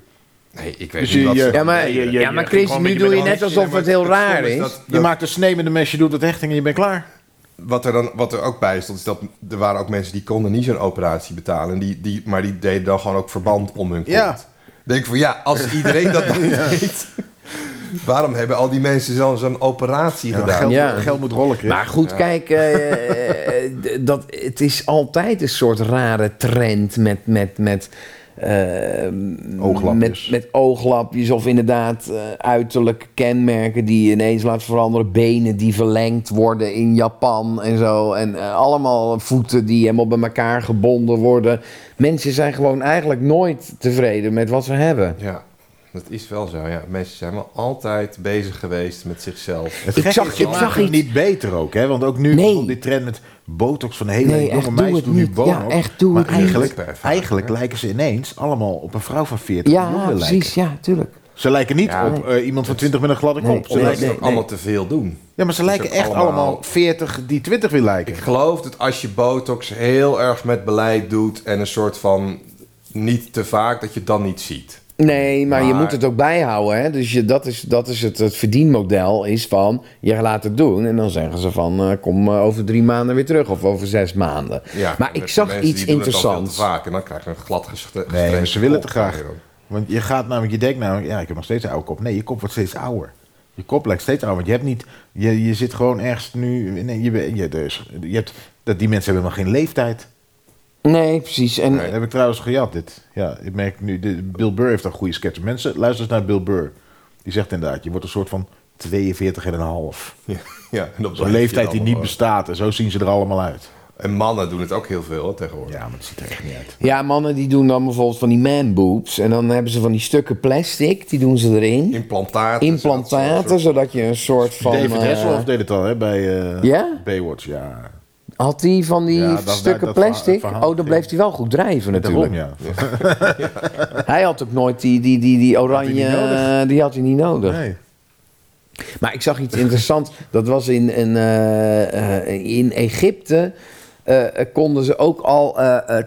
[SPEAKER 2] nee, ik weet
[SPEAKER 3] Dus
[SPEAKER 2] niet
[SPEAKER 3] je-
[SPEAKER 2] wat
[SPEAKER 3] je-
[SPEAKER 2] ze
[SPEAKER 4] Ja, maar,
[SPEAKER 3] je- je-
[SPEAKER 4] ja, maar Chris, nu doe je net alsof het heel raar
[SPEAKER 2] stom
[SPEAKER 4] is.
[SPEAKER 2] is dat-
[SPEAKER 3] Je maakt een snee met een mesje, je doet het hechting en je bent klaar.
[SPEAKER 2] Wat er, dan, wat er ook bij stond, is dat er waren ook mensen die konden niet zo'n operatie betalen. En die, die, maar die deden dan gewoon ook verband om hun kont.
[SPEAKER 3] Ja.
[SPEAKER 2] Denk van ja, als iedereen dat nou weet, waarom hebben al die mensen zo'n zo'n operatie
[SPEAKER 3] Ja,
[SPEAKER 2] gedaan?
[SPEAKER 3] geld,
[SPEAKER 4] Ja.
[SPEAKER 3] geld moet rollen, Chris.
[SPEAKER 4] Maar goed, kijk, eh, eh, d- dat, het is altijd een soort rare trend met. met, met eh,
[SPEAKER 3] Ooglapjes.
[SPEAKER 4] Met, met ooglapjes of inderdaad eh, uiterlijke kenmerken die je ineens laat veranderen. Benen die verlengd worden in Japan en zo. En eh, allemaal voeten die helemaal bij elkaar gebonden worden. Mensen zijn gewoon eigenlijk nooit tevreden met wat ze hebben.
[SPEAKER 2] Ja, dat is wel zo. Ja. Mensen zijn wel altijd bezig geweest met zichzelf.
[SPEAKER 3] Het
[SPEAKER 4] Ik
[SPEAKER 3] gekke
[SPEAKER 4] zag-
[SPEAKER 3] is, het
[SPEAKER 4] ik
[SPEAKER 3] maakt
[SPEAKER 4] zag
[SPEAKER 3] het
[SPEAKER 4] iets-
[SPEAKER 3] niet beter ook, hè? Want ook nu
[SPEAKER 4] Nee.
[SPEAKER 3] komt die trend met botox van hele
[SPEAKER 4] Nee, echt,
[SPEAKER 3] jonge
[SPEAKER 4] doe
[SPEAKER 3] meisjes
[SPEAKER 4] het
[SPEAKER 3] doen nu
[SPEAKER 4] niet.
[SPEAKER 3] botox.
[SPEAKER 4] Ja, echt, doe
[SPEAKER 3] maar
[SPEAKER 4] het niet.
[SPEAKER 3] eigenlijk,
[SPEAKER 2] Lippenverf,
[SPEAKER 3] eigenlijk
[SPEAKER 2] hè?
[SPEAKER 3] lijken ze ineens allemaal op een vrouw van 40 die
[SPEAKER 4] Ja,
[SPEAKER 3] jongeren
[SPEAKER 4] precies,
[SPEAKER 3] lijken.
[SPEAKER 4] ja, tuurlijk.
[SPEAKER 3] Ze lijken niet
[SPEAKER 2] Ja,
[SPEAKER 3] op eh, iemand van 20 met een gladde
[SPEAKER 4] Nee,
[SPEAKER 3] kop. Ze
[SPEAKER 4] nee,
[SPEAKER 3] lijken-
[SPEAKER 2] Omdat ze ook allemaal te veel doen.
[SPEAKER 3] Ja, maar ze lijken
[SPEAKER 2] ook
[SPEAKER 3] echt allemaal...
[SPEAKER 2] allemaal-
[SPEAKER 3] 40 die 20 weer lijken.
[SPEAKER 2] Ik geloof dat als je botox heel erg met beleid doet en een soort van niet te vaak, dat je het dan niet ziet.
[SPEAKER 4] Nee, maar, je
[SPEAKER 2] Maar-
[SPEAKER 4] moet het ook bijhouden. Hè? Dus je, dat is, dat is het, het verdienmodel is van je laat het doen en dan zeggen ze van eh, kom eh, over drie maanden weer terug of over zes maanden.
[SPEAKER 2] Ja,
[SPEAKER 4] maar
[SPEAKER 2] en
[SPEAKER 4] ik
[SPEAKER 2] er
[SPEAKER 4] zag
[SPEAKER 2] zijn mensen
[SPEAKER 4] iets
[SPEAKER 2] die doen het al veel te
[SPEAKER 4] interessants.
[SPEAKER 2] Vaak en dan krijg je een glad gestreken.
[SPEAKER 3] Nee, maar ze willen het graag. Want je gaat namelijk, je denkt namelijk, ja, ik heb nog steeds een oude kop. Nee, je kop wordt steeds ouder. Je kop lijkt steeds ouder, want je hebt niet, je, je zit gewoon ergens nu, nee, je, bent- je, dus, je hebt, dat die mensen hebben nog geen leeftijd.
[SPEAKER 4] Nee, precies. En,
[SPEAKER 3] Dat heb ik trouwens gejat, dit. Ja, ik merk nu, de, Bill Burr heeft een goede sketch. Mensen, luister eens naar Bill Burr. Die zegt inderdaad, je wordt een soort van 42 en een half.
[SPEAKER 2] Ja, ja, en dat
[SPEAKER 3] Zo'n
[SPEAKER 2] blijf
[SPEAKER 3] leeftijd
[SPEAKER 2] je
[SPEAKER 3] die
[SPEAKER 2] dan
[SPEAKER 3] niet
[SPEAKER 2] wel.
[SPEAKER 3] bestaat en zo zien ze er allemaal uit.
[SPEAKER 2] En mannen doen het ook heel veel hè, tegenwoordig.
[SPEAKER 3] Ja, maar het ziet er echt niet uit.
[SPEAKER 4] Ja, mannen die doen dan bijvoorbeeld van die man boobs en dan hebben ze van die stukken plastic, die doen ze erin.
[SPEAKER 2] Implantaten.
[SPEAKER 4] Implantaten, zodat je een soort van...
[SPEAKER 3] David
[SPEAKER 4] eh,
[SPEAKER 3] Hasselhoff deed het al, hè, bij eh,
[SPEAKER 4] Ja?
[SPEAKER 3] Baywatch, ja.
[SPEAKER 4] had hij van die
[SPEAKER 3] Ja, dat- dat-
[SPEAKER 4] stukken
[SPEAKER 3] dat verha-
[SPEAKER 4] plastic?
[SPEAKER 3] verhaal-
[SPEAKER 4] oh, dan bleef hij wel goed drijven natuurlijk.
[SPEAKER 3] Daarom, ja.
[SPEAKER 4] Hij had ook nooit die, die, die, die oranje,
[SPEAKER 3] Had hij niet nodig.
[SPEAKER 4] eh, die had hij niet nodig.
[SPEAKER 3] Nee.
[SPEAKER 4] Maar ik zag iets interessants. Dat was in, een, eh, eh, in Egypte. eh, eh, konden ze ook al eh,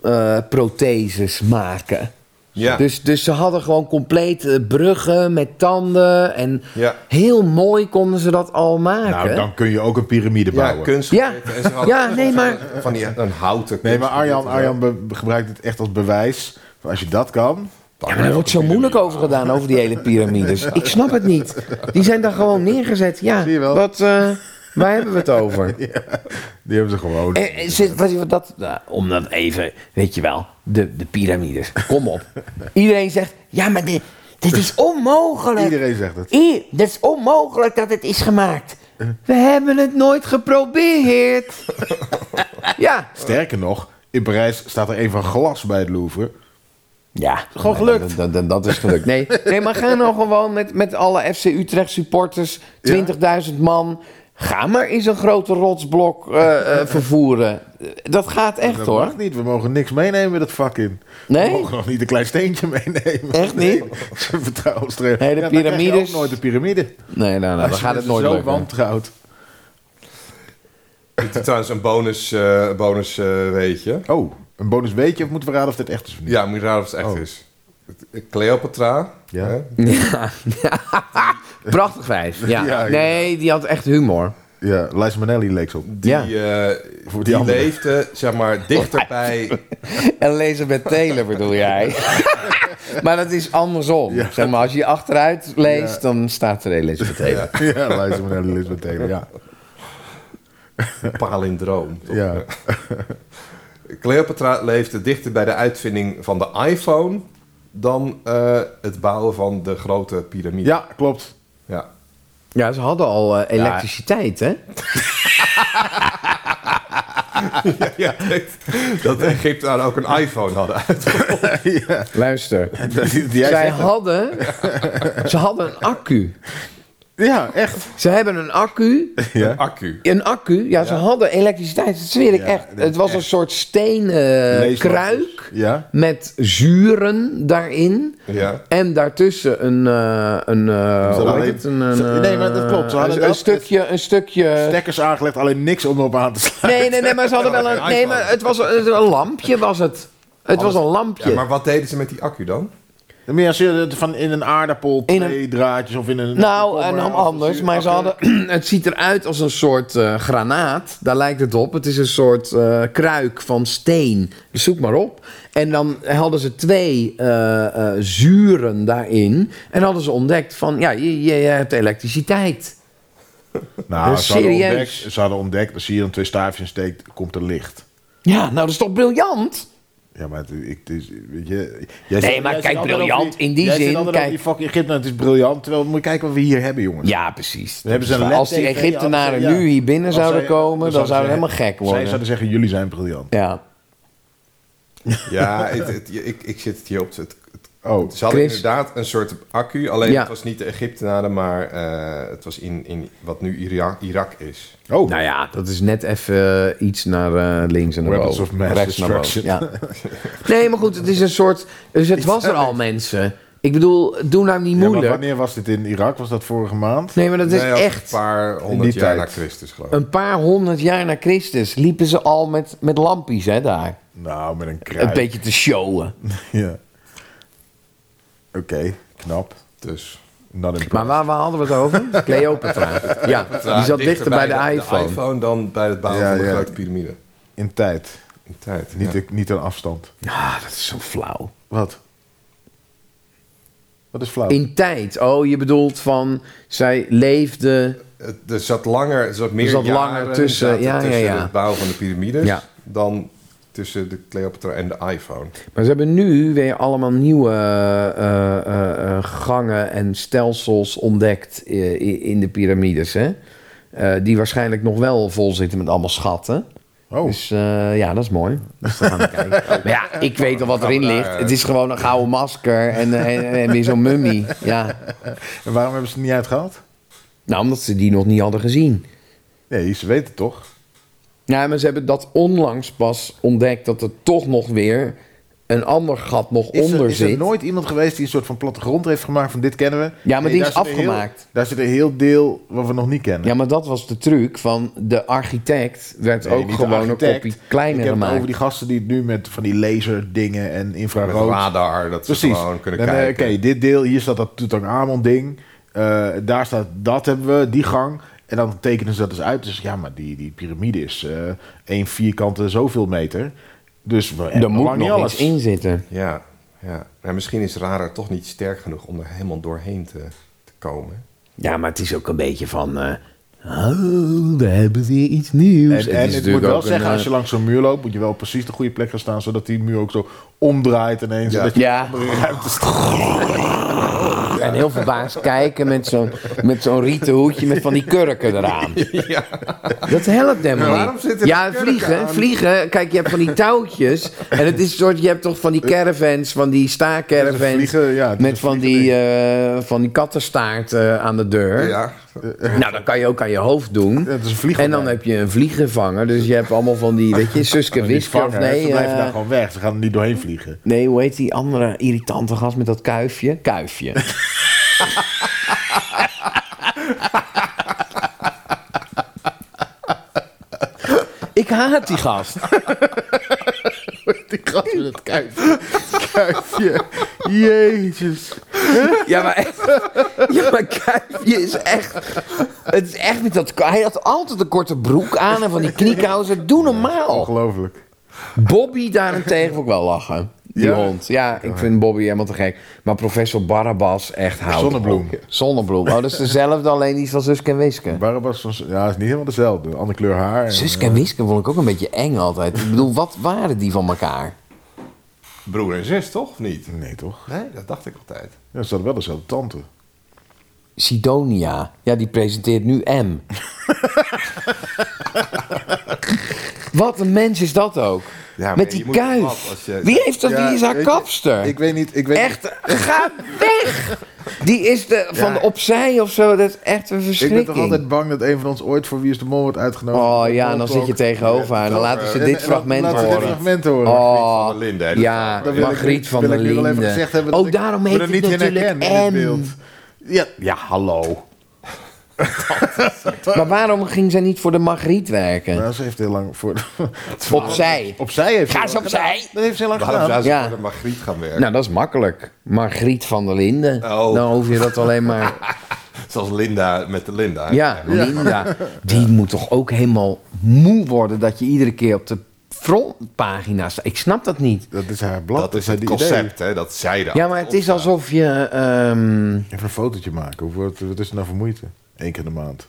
[SPEAKER 4] tandprotheses eh, maken.
[SPEAKER 2] Ja.
[SPEAKER 4] Dus, dus ze hadden gewoon compleet eh, bruggen met tanden. En
[SPEAKER 2] Ja.
[SPEAKER 4] heel mooi konden ze dat al maken.
[SPEAKER 3] Nou, dan kun je ook een piramide
[SPEAKER 2] ja,
[SPEAKER 3] bouwen.
[SPEAKER 2] kunst.
[SPEAKER 4] Ja.
[SPEAKER 2] en ze hadden-
[SPEAKER 4] Ja, nee, maar-
[SPEAKER 2] Van die, een houten
[SPEAKER 3] nee, maar Arjan,
[SPEAKER 2] kunstgebied.
[SPEAKER 3] Arjan be- gebruikt het echt als bewijs. Van Als je dat kan,
[SPEAKER 4] Ja, maar daar wordt zo moeilijk over gedaan, over die hele piramides. Ik snap het niet. Die zijn daar gewoon neergezet. Ja,
[SPEAKER 3] Zie je wel.
[SPEAKER 4] Wat, eh, waar hebben we het over?
[SPEAKER 3] die hebben ze gewoon.
[SPEAKER 4] Eh, eh, zit- wat, wat, dat, nou, om dan even, weet je wel, de, de piramides. Kom op. Iedereen zegt, ja, maar dit, dit is onmogelijk.
[SPEAKER 3] Iedereen zegt het. Eh.
[SPEAKER 4] I- dat is onmogelijk dat het is gemaakt. We hebben het nooit geprobeerd. ja.
[SPEAKER 3] Sterker nog, in Parijs staat er een van glas bij het Louvre.
[SPEAKER 4] Ja.
[SPEAKER 3] Gewoon
[SPEAKER 4] Nee,
[SPEAKER 3] gelukt.
[SPEAKER 4] Dat, dat, dat is gelukt. Nee, nee maar ga nou gewoon met, met alle FC Utrecht supporters, 20.000 man. Ga maar eens een grote rotsblok eh, eh, vervoeren. Dat gaat echt
[SPEAKER 3] Dat
[SPEAKER 4] hoor.
[SPEAKER 3] mag niet, we mogen niks meenemen dat vak in.
[SPEAKER 4] Nee?
[SPEAKER 3] We mogen nog niet een klein steentje meenemen.
[SPEAKER 4] Echt
[SPEAKER 3] Nee,
[SPEAKER 4] niet?
[SPEAKER 3] Ze vertrouwen ons erin.
[SPEAKER 4] Nee, de
[SPEAKER 3] Ja, dan krijg je
[SPEAKER 4] piramides.
[SPEAKER 3] ook nooit de piramide.
[SPEAKER 4] Nee, nou, nou,
[SPEAKER 3] Als
[SPEAKER 4] dan
[SPEAKER 3] je
[SPEAKER 4] gaat het
[SPEAKER 3] mensen
[SPEAKER 4] nooit
[SPEAKER 3] zo
[SPEAKER 4] lukken.
[SPEAKER 3] wantrouwt.
[SPEAKER 2] Ik doe trouwens een bonus, eh bonus eh, weet je.
[SPEAKER 3] Oh, een bonus weet je of moeten we raden of dit echt is of niet?
[SPEAKER 2] Ja, moet je raden of het echt
[SPEAKER 3] Oh.
[SPEAKER 2] is. Cleopatra.
[SPEAKER 3] Ja.
[SPEAKER 2] hè?
[SPEAKER 4] Ja. Prachtig wijf. Ja.
[SPEAKER 3] Ja, ja.
[SPEAKER 4] Nee, die had echt humor.
[SPEAKER 3] Ja, Liza Minnelli leek ze op.
[SPEAKER 2] Die,
[SPEAKER 4] Ja.
[SPEAKER 2] eh,
[SPEAKER 3] Voor die
[SPEAKER 2] die,
[SPEAKER 3] andere.
[SPEAKER 2] leefde, zeg maar, dichterbij.
[SPEAKER 4] Elizabeth Taylor bedoel jij. maar dat is andersom.
[SPEAKER 3] Ja.
[SPEAKER 4] Zeg maar, als je achteruit leest,
[SPEAKER 3] Ja.
[SPEAKER 4] dan staat er Elizabeth Taylor.
[SPEAKER 2] ja,
[SPEAKER 3] Ja, Liza Minnelli Elizabeth Taylor, ja.
[SPEAKER 2] palindroom. toch?
[SPEAKER 3] ja.
[SPEAKER 2] Cleopatra leefde dichter bij de uitvinding van de iPhone dan eh, het bouwen van de grote piramide.
[SPEAKER 3] Ja, klopt.
[SPEAKER 2] Ja.
[SPEAKER 4] Ja, ze hadden al eh, elektriciteit, hè?
[SPEAKER 2] Ja, dat Egypte daar ook een iPhone hadden.
[SPEAKER 3] ja.
[SPEAKER 4] Luister.
[SPEAKER 3] Jij
[SPEAKER 4] Zij
[SPEAKER 3] zegt-
[SPEAKER 4] hadden, ze hadden een accu.
[SPEAKER 3] ja, echt.
[SPEAKER 4] Ze hebben een accu.
[SPEAKER 2] Een accu.
[SPEAKER 4] Een accu, ja, ze hadden elektriciteit. Dat zweer ik
[SPEAKER 3] Ja,
[SPEAKER 4] echt.
[SPEAKER 3] dat
[SPEAKER 4] Het was
[SPEAKER 3] echt.
[SPEAKER 4] een soort stenen
[SPEAKER 3] Lees wat
[SPEAKER 4] Eh, kruik.
[SPEAKER 3] is. Ja.
[SPEAKER 4] Met zuren daarin.
[SPEAKER 2] Ja.
[SPEAKER 4] En daartussen een. eh, een eh,
[SPEAKER 3] Ze
[SPEAKER 4] hoe
[SPEAKER 3] hadden
[SPEAKER 4] heet het?
[SPEAKER 3] alleen-
[SPEAKER 4] Een, een,
[SPEAKER 3] ze- nee, maar dat
[SPEAKER 4] eh,
[SPEAKER 3] klopt, ze hadden
[SPEAKER 4] een,
[SPEAKER 3] dat-
[SPEAKER 4] een stukje. Een stukje
[SPEAKER 3] Stekkers aangelegd, alleen niks om op aan te slaan.
[SPEAKER 4] nee, nee, nee, maar ze hadden wel een. Nee, maar het was een, een lampje, was het. Het was een
[SPEAKER 2] Ja,
[SPEAKER 4] lampje.
[SPEAKER 2] maar wat deden ze met die accu dan?
[SPEAKER 3] Dan meer als je het van in een aardappel
[SPEAKER 4] In een-
[SPEAKER 3] twee draadjes of in een...
[SPEAKER 4] Nou,
[SPEAKER 3] komkommer,
[SPEAKER 4] en dan
[SPEAKER 3] als het
[SPEAKER 4] anders.
[SPEAKER 3] zuur-
[SPEAKER 4] Maar ze
[SPEAKER 3] oké.
[SPEAKER 4] hadden, het ziet eruit als een soort eh, granaat. Daar lijkt het op. Het is een soort eh, kruik van steen. Dus Zoek maar op. En dan hadden ze twee eh, eh, zuren daarin. En hadden ze ontdekt van, ja, je, je hebt elektriciteit.
[SPEAKER 3] Nou,
[SPEAKER 4] Dus
[SPEAKER 3] ze hadden,
[SPEAKER 4] serieus.
[SPEAKER 3] ontdekt, ze hadden ontdekt, als je hier dan twee staafjes in steekt, komt er licht.
[SPEAKER 4] Ja, nou dat is toch briljant?
[SPEAKER 3] Ja, maar het, ik, het is, weet je... Jij
[SPEAKER 4] Nee,
[SPEAKER 3] zit-
[SPEAKER 4] maar
[SPEAKER 3] jij
[SPEAKER 4] kijk,
[SPEAKER 3] zit altijd
[SPEAKER 4] briljant
[SPEAKER 3] over die-
[SPEAKER 4] in die
[SPEAKER 3] jij zit
[SPEAKER 4] zin,
[SPEAKER 3] altijd over
[SPEAKER 4] kijk.
[SPEAKER 3] die fucking Egypte, het is briljant. Terwijl, moet je kijken wat we hier hebben, jongens.
[SPEAKER 4] Ja, precies.
[SPEAKER 3] We hebben ze een
[SPEAKER 4] Als die
[SPEAKER 3] LED-TV,
[SPEAKER 4] Egyptenaren
[SPEAKER 3] hadden ze- ja.
[SPEAKER 4] nu hier binnen
[SPEAKER 3] Als
[SPEAKER 4] zouden
[SPEAKER 3] zij- dus
[SPEAKER 4] komen, dan
[SPEAKER 3] ze
[SPEAKER 4] zouden we helemaal
[SPEAKER 3] zeggen-
[SPEAKER 4] gek worden.
[SPEAKER 3] Zij zouden zeggen, jullie zijn briljant.
[SPEAKER 4] Ja.
[SPEAKER 2] Ja, het- het- je- ik, ik zit het hier op. Het, het-
[SPEAKER 3] Oh,
[SPEAKER 2] ze hadden
[SPEAKER 4] Chris.
[SPEAKER 2] inderdaad een soort accu. Alleen
[SPEAKER 4] Ja.
[SPEAKER 2] het was niet de Egyptenaren, maar eh, het was in, in wat nu Ira- Irak is.
[SPEAKER 3] oh.
[SPEAKER 4] Nou ja, dat is net even eh, iets naar eh, links en naar
[SPEAKER 3] Weapons
[SPEAKER 4] boven.
[SPEAKER 3] of mass
[SPEAKER 4] Rechts naar boven.
[SPEAKER 3] destruction.
[SPEAKER 4] Ja. Nee, maar goed, het is een soort... Dus het was er al, mensen. Ik bedoel, doe nou niet
[SPEAKER 3] Ja, maar
[SPEAKER 4] moeilijk.
[SPEAKER 3] wanneer was dit in Irak? Was dat vorige maand?
[SPEAKER 4] Nee, maar dat is
[SPEAKER 2] Nee, ook
[SPEAKER 4] echt...
[SPEAKER 2] Een paar honderd
[SPEAKER 3] die
[SPEAKER 2] jaar
[SPEAKER 3] tijd.
[SPEAKER 2] na Christus, geloof ik.
[SPEAKER 4] Een paar honderd jaar na Christus liepen ze al met, met lampjes, hè, daar.
[SPEAKER 3] Nou, met een kruid.
[SPEAKER 4] Een beetje te showen.
[SPEAKER 3] Ja. Oké, knap.
[SPEAKER 2] Dus.
[SPEAKER 3] Not impressed.
[SPEAKER 4] Maar waar, waar hadden we het over? Cleopatra. Ja, die zat dichter bij de
[SPEAKER 2] De
[SPEAKER 4] iPhone.
[SPEAKER 2] iPhone dan bij het bouwen
[SPEAKER 3] Ja,
[SPEAKER 2] van de
[SPEAKER 3] ja.
[SPEAKER 2] grote piramide.
[SPEAKER 3] In tijd.
[SPEAKER 2] In tijd.
[SPEAKER 3] Niet,
[SPEAKER 2] ja.
[SPEAKER 3] een- niet een afstand.
[SPEAKER 4] Ah, dat is zo flauw.
[SPEAKER 3] Wat? Wat is flauw?
[SPEAKER 4] In tijd. Oh, je bedoelt van... Zij leefde...
[SPEAKER 2] Het- Er zat langer, er zat meer
[SPEAKER 4] zat
[SPEAKER 2] jaren
[SPEAKER 4] langer tussen,
[SPEAKER 2] zaten
[SPEAKER 4] ja, ja,
[SPEAKER 2] tussen
[SPEAKER 4] ja.
[SPEAKER 2] het bouwen van de piramides
[SPEAKER 4] Ja.
[SPEAKER 2] dan tussen de Cleopatra en de iPhone.
[SPEAKER 4] Maar ze hebben nu weer allemaal nieuwe eh, eh, eh, gangen en stelsels ontdekt eh, i- in de piramides. Hè? Eh, die waarschijnlijk nog wel vol zitten met allemaal schatten.
[SPEAKER 3] Oh,
[SPEAKER 4] Dus eh, ja, dat is mooi. Dus daar gaan we kijken. Maar ja, ik weet al wat erin ligt. Het
[SPEAKER 3] eh,
[SPEAKER 4] is gewoon een gouden masker en, eh, en, en weer zo'n mummie. Ja.
[SPEAKER 3] en waarom hebben ze het niet uitgehaald?
[SPEAKER 4] Nou, omdat ze die nog niet hadden gezien.
[SPEAKER 3] Nee, ze weten het toch?
[SPEAKER 4] Ja, maar ze hebben dat onlangs pas ontdekt dat er toch nog weer een ander gat nog
[SPEAKER 3] Is er,
[SPEAKER 4] onder
[SPEAKER 3] is
[SPEAKER 4] zit.
[SPEAKER 3] er nooit iemand geweest die een soort van plattegrond heeft gemaakt van dit kennen we?
[SPEAKER 4] Ja, maar die
[SPEAKER 3] daar
[SPEAKER 4] is
[SPEAKER 3] zit een heel-
[SPEAKER 4] afgemaakt.
[SPEAKER 3] daar zit een heel deel wat we nog niet kennen.
[SPEAKER 4] Ja, maar dat was de truc van de architect werd
[SPEAKER 3] Nee,
[SPEAKER 4] ook
[SPEAKER 3] niet de
[SPEAKER 4] gewoon een
[SPEAKER 3] architect.
[SPEAKER 4] kopie kleiner
[SPEAKER 3] Ik heb het
[SPEAKER 4] gemaakt.
[SPEAKER 3] over die gasten die het nu met van die laserdingen en
[SPEAKER 2] Met
[SPEAKER 3] infrarood
[SPEAKER 2] radar, dat ze
[SPEAKER 3] Precies.
[SPEAKER 2] gewoon kunnen
[SPEAKER 3] Dan, eh,
[SPEAKER 2] kijken.
[SPEAKER 3] Oké, dit deel, hier staat dat Tutankhamon ding. Eh, daar staat dat hebben we, die gang. En dan tekenen ze dat eens uit. Dus ja, maar die, die piramide is eh één vierkante zoveel meter. Dus we hebben
[SPEAKER 4] Er
[SPEAKER 3] nog
[SPEAKER 4] moet
[SPEAKER 3] lang niet
[SPEAKER 4] nog iets
[SPEAKER 3] alles.
[SPEAKER 4] in zitten.
[SPEAKER 2] Ja, ja. Nou, misschien is radar toch niet sterk genoeg om er helemaal doorheen te, te komen.
[SPEAKER 4] Ja, maar het is ook een beetje van. eh, oh, we hebben weer iets nieuws.
[SPEAKER 2] Dus
[SPEAKER 3] En, en ik
[SPEAKER 4] is
[SPEAKER 3] moet
[SPEAKER 4] natuurlijk
[SPEAKER 3] wel
[SPEAKER 4] ook
[SPEAKER 3] zeggen,
[SPEAKER 4] een,
[SPEAKER 2] eh,
[SPEAKER 3] als je langs zo'n muur loopt, moet je wel op precies de goede plek gaan staan, zodat die muur ook zo omdraait ineens.
[SPEAKER 2] Ja.
[SPEAKER 3] Zodat je
[SPEAKER 4] Ja,
[SPEAKER 3] ruimte staat.
[SPEAKER 4] eh, en heel verbaasd kijken met zo'n met zo'n rieten hoedje met van die kurken eraan. Dat helpt helemaal
[SPEAKER 2] Maar
[SPEAKER 4] niet.
[SPEAKER 2] waarom zitten er
[SPEAKER 4] ja,
[SPEAKER 2] kurken
[SPEAKER 4] vliegen,
[SPEAKER 2] aan?
[SPEAKER 4] vliegen. Kijk, je hebt van die touwtjes. En het is een soort, je hebt toch van die caravans, van die
[SPEAKER 3] Dus een
[SPEAKER 4] staacaravans.
[SPEAKER 3] vliegen, ja, dus een
[SPEAKER 4] Met van die,
[SPEAKER 3] vliegen
[SPEAKER 4] eh, van die kattenstaart eh, aan de deur.
[SPEAKER 2] Ja,
[SPEAKER 4] Nou, dat kan je ook aan je hoofd doen.
[SPEAKER 3] ding. Het is een vliegtuig.
[SPEAKER 4] En dan heb je een vliegenvanger. Dus je hebt allemaal van die, weet je, Suske
[SPEAKER 3] Die
[SPEAKER 4] Wiske of
[SPEAKER 3] vangen, hè,
[SPEAKER 4] nee.
[SPEAKER 3] Ze blijven
[SPEAKER 4] eh,
[SPEAKER 3] daar gewoon weg. Ze gaan er niet doorheen vliegen.
[SPEAKER 4] nee, hoe heet die andere irritante gast met dat kuifje? Kuifje. Ik haat die gast.
[SPEAKER 3] Die gast met het kuifje. kuifje. Jezus.
[SPEAKER 4] Ja, maar echt. Ja, maar kuifje is echt. Het is echt met dat. Hij had altijd een korte broek aan en van die kniekousen. Doe
[SPEAKER 3] Oh.
[SPEAKER 4] normaal.
[SPEAKER 3] Ongelooflijk.
[SPEAKER 4] Bobby daarentegen vond ik wel lachen. Die
[SPEAKER 3] Ja?
[SPEAKER 4] hond. Ja, ik vind Bobby helemaal te gek. Maar professor Barabbas echt houdt.
[SPEAKER 3] Zonnebloem.
[SPEAKER 4] Zonnebloem. Oh, dat is dezelfde, alleen die is van Suske en Wiske.
[SPEAKER 3] Barabbas van... Ja, is niet helemaal dezelfde. Een andere kleur haar. en-
[SPEAKER 4] Suske en Wiske vond ik ook een beetje eng altijd. Ik bedoel, wat waren die van elkaar?
[SPEAKER 2] broer en zus toch, of niet?
[SPEAKER 3] Nee, toch?
[SPEAKER 2] Nee, dat dacht ik altijd.
[SPEAKER 3] Ja, ze hadden wel dezelfde tante.
[SPEAKER 4] Sidonia. Ja, die presenteert nu M. wat een mens is dat ook.
[SPEAKER 2] Ja, maar
[SPEAKER 4] Met
[SPEAKER 2] je
[SPEAKER 4] die
[SPEAKER 2] moet
[SPEAKER 4] kuif.
[SPEAKER 2] wat als je-
[SPEAKER 4] Wie heeft dat?
[SPEAKER 3] Ja,
[SPEAKER 4] Wie is haar
[SPEAKER 3] weet je,
[SPEAKER 4] kapster?
[SPEAKER 3] Ik weet niet... Ik weet
[SPEAKER 4] echt, ga weg! Die is de, van
[SPEAKER 3] Ja.
[SPEAKER 4] opzij of zo. Dat is echt een
[SPEAKER 3] Ik
[SPEAKER 4] verschrikking.
[SPEAKER 3] ben toch altijd bang dat een van ons ooit voor Wie is de Mol wordt uitgenodigd.
[SPEAKER 4] Oh
[SPEAKER 3] Voor
[SPEAKER 4] ja, en dan
[SPEAKER 3] Mol Talk.
[SPEAKER 4] zit je tegenover haar. En dan laten ze
[SPEAKER 3] En- en
[SPEAKER 4] dit
[SPEAKER 3] dan
[SPEAKER 4] fragment
[SPEAKER 3] laten we dit
[SPEAKER 4] horen.
[SPEAKER 3] fragment horen.
[SPEAKER 4] Oh,
[SPEAKER 2] Van der Linden, hè, dat-
[SPEAKER 4] ja,
[SPEAKER 3] Dan wil ik-
[SPEAKER 4] Margriet van
[SPEAKER 3] wil
[SPEAKER 4] der
[SPEAKER 3] ik nu wel even gezegd hebben
[SPEAKER 4] Linden.
[SPEAKER 3] dat
[SPEAKER 4] Ook
[SPEAKER 3] ik
[SPEAKER 4] daarom
[SPEAKER 3] me
[SPEAKER 4] heet
[SPEAKER 3] er
[SPEAKER 4] het
[SPEAKER 3] niet in
[SPEAKER 4] natuurlijk
[SPEAKER 3] herken in dit
[SPEAKER 4] M.
[SPEAKER 3] beeld. Ja, ja hallo.
[SPEAKER 4] Maar waarom ging zij niet voor de Margriet werken?
[SPEAKER 3] Nou, ze heeft heel lang voor...
[SPEAKER 4] Opzij.
[SPEAKER 3] Opzij heeft
[SPEAKER 4] Ga
[SPEAKER 3] ze
[SPEAKER 4] eens opzij.
[SPEAKER 3] Dat heeft ze heel lang
[SPEAKER 2] Waarom zou
[SPEAKER 3] gedaan.
[SPEAKER 2] ze
[SPEAKER 4] Ja.
[SPEAKER 2] voor de Margriet gaan werken?
[SPEAKER 4] Nou, dat is makkelijk. Margriet van der Linden.
[SPEAKER 2] Oh.
[SPEAKER 4] Dan hoef je dat alleen maar...
[SPEAKER 2] Zoals Linda met de Linda.
[SPEAKER 4] Ja, Linda. Die moet toch ook helemaal moe worden dat je iedere keer op de frontpagina staat. Ik snap dat niet.
[SPEAKER 3] Dat is haar blad.
[SPEAKER 2] Dat is
[SPEAKER 3] haar
[SPEAKER 2] het
[SPEAKER 3] idee.
[SPEAKER 2] concept, hè, dat zij dat.
[SPEAKER 4] Ja, maar het is alsof je... ehm,
[SPEAKER 3] Even een fotootje maken. Hoe wordt, wat is er nou voor moeite? Eén keer in de maand.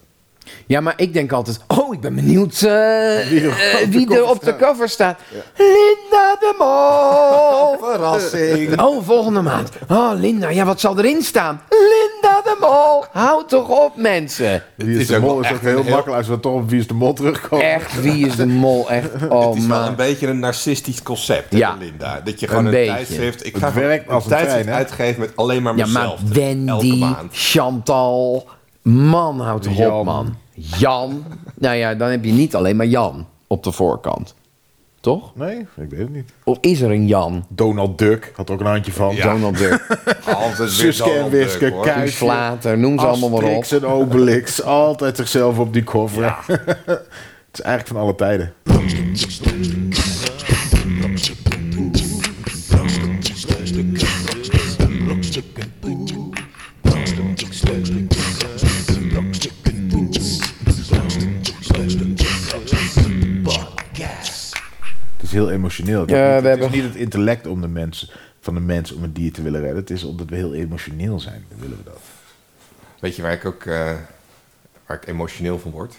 [SPEAKER 4] Ja, maar ik denk altijd, oh, ik ben benieuwd eh,
[SPEAKER 3] Wie er
[SPEAKER 4] eh,
[SPEAKER 3] op
[SPEAKER 4] wie
[SPEAKER 3] de
[SPEAKER 4] er
[SPEAKER 3] cover
[SPEAKER 4] op de cover staat. Linda de Mol.
[SPEAKER 2] Verrassing.
[SPEAKER 4] Oh, volgende maand. Oh, Linda, ja, wat zal erin staan? Linda de Mol. Houd toch op, mensen.
[SPEAKER 3] Wie is,
[SPEAKER 2] is
[SPEAKER 3] de
[SPEAKER 2] ook wel
[SPEAKER 3] mol is
[SPEAKER 2] echt
[SPEAKER 3] ook heel
[SPEAKER 2] een heel-
[SPEAKER 3] makkelijk als we toch op Wie is de mol terugkomen.
[SPEAKER 4] Echt, wie is de mol? Echt,
[SPEAKER 2] Het
[SPEAKER 4] oh
[SPEAKER 2] is wel een
[SPEAKER 4] man.
[SPEAKER 2] beetje een narcistisch concept, hè,
[SPEAKER 4] Ja.
[SPEAKER 2] Linda. Dat je gewoon
[SPEAKER 4] Een
[SPEAKER 2] een,
[SPEAKER 4] beetje.
[SPEAKER 2] tijdschrift... Ik
[SPEAKER 3] Het
[SPEAKER 2] ga gewoon
[SPEAKER 3] werkt als een
[SPEAKER 2] tijdschrift
[SPEAKER 3] trein, hè?
[SPEAKER 2] uitgeven met alleen maar
[SPEAKER 4] Ja, maar
[SPEAKER 2] mezelf. Elke
[SPEAKER 4] Wendy,
[SPEAKER 2] maand.
[SPEAKER 4] Chantal, man, houd toch op,
[SPEAKER 3] Jan.
[SPEAKER 4] man. Jan. Nou ja, dan heb je niet alleen maar Jan op de voorkant. Toch?
[SPEAKER 3] Nee, ik weet het niet.
[SPEAKER 4] Of is er een Jan?
[SPEAKER 3] Donald Duck had er ook een handje van.
[SPEAKER 2] Ja.
[SPEAKER 4] Donald Duck,
[SPEAKER 2] Altijd
[SPEAKER 3] Suske en Wiske,
[SPEAKER 2] Kijk.
[SPEAKER 4] Guus Vlater, noem ze allemaal maar op.
[SPEAKER 3] Asterix en Obelix. Altijd zichzelf op die cover. het is eigenlijk van alle tijden. Het is heel emotioneel. Het,
[SPEAKER 4] Ja,
[SPEAKER 3] is niet-
[SPEAKER 4] we
[SPEAKER 3] het
[SPEAKER 4] hebben-
[SPEAKER 3] is niet het intellect om de mensen, van de mens om een dier te willen redden. Het is omdat we heel emotioneel zijn. Dan willen we dat.
[SPEAKER 2] Weet je waar ik ook eh, waar ik emotioneel van word?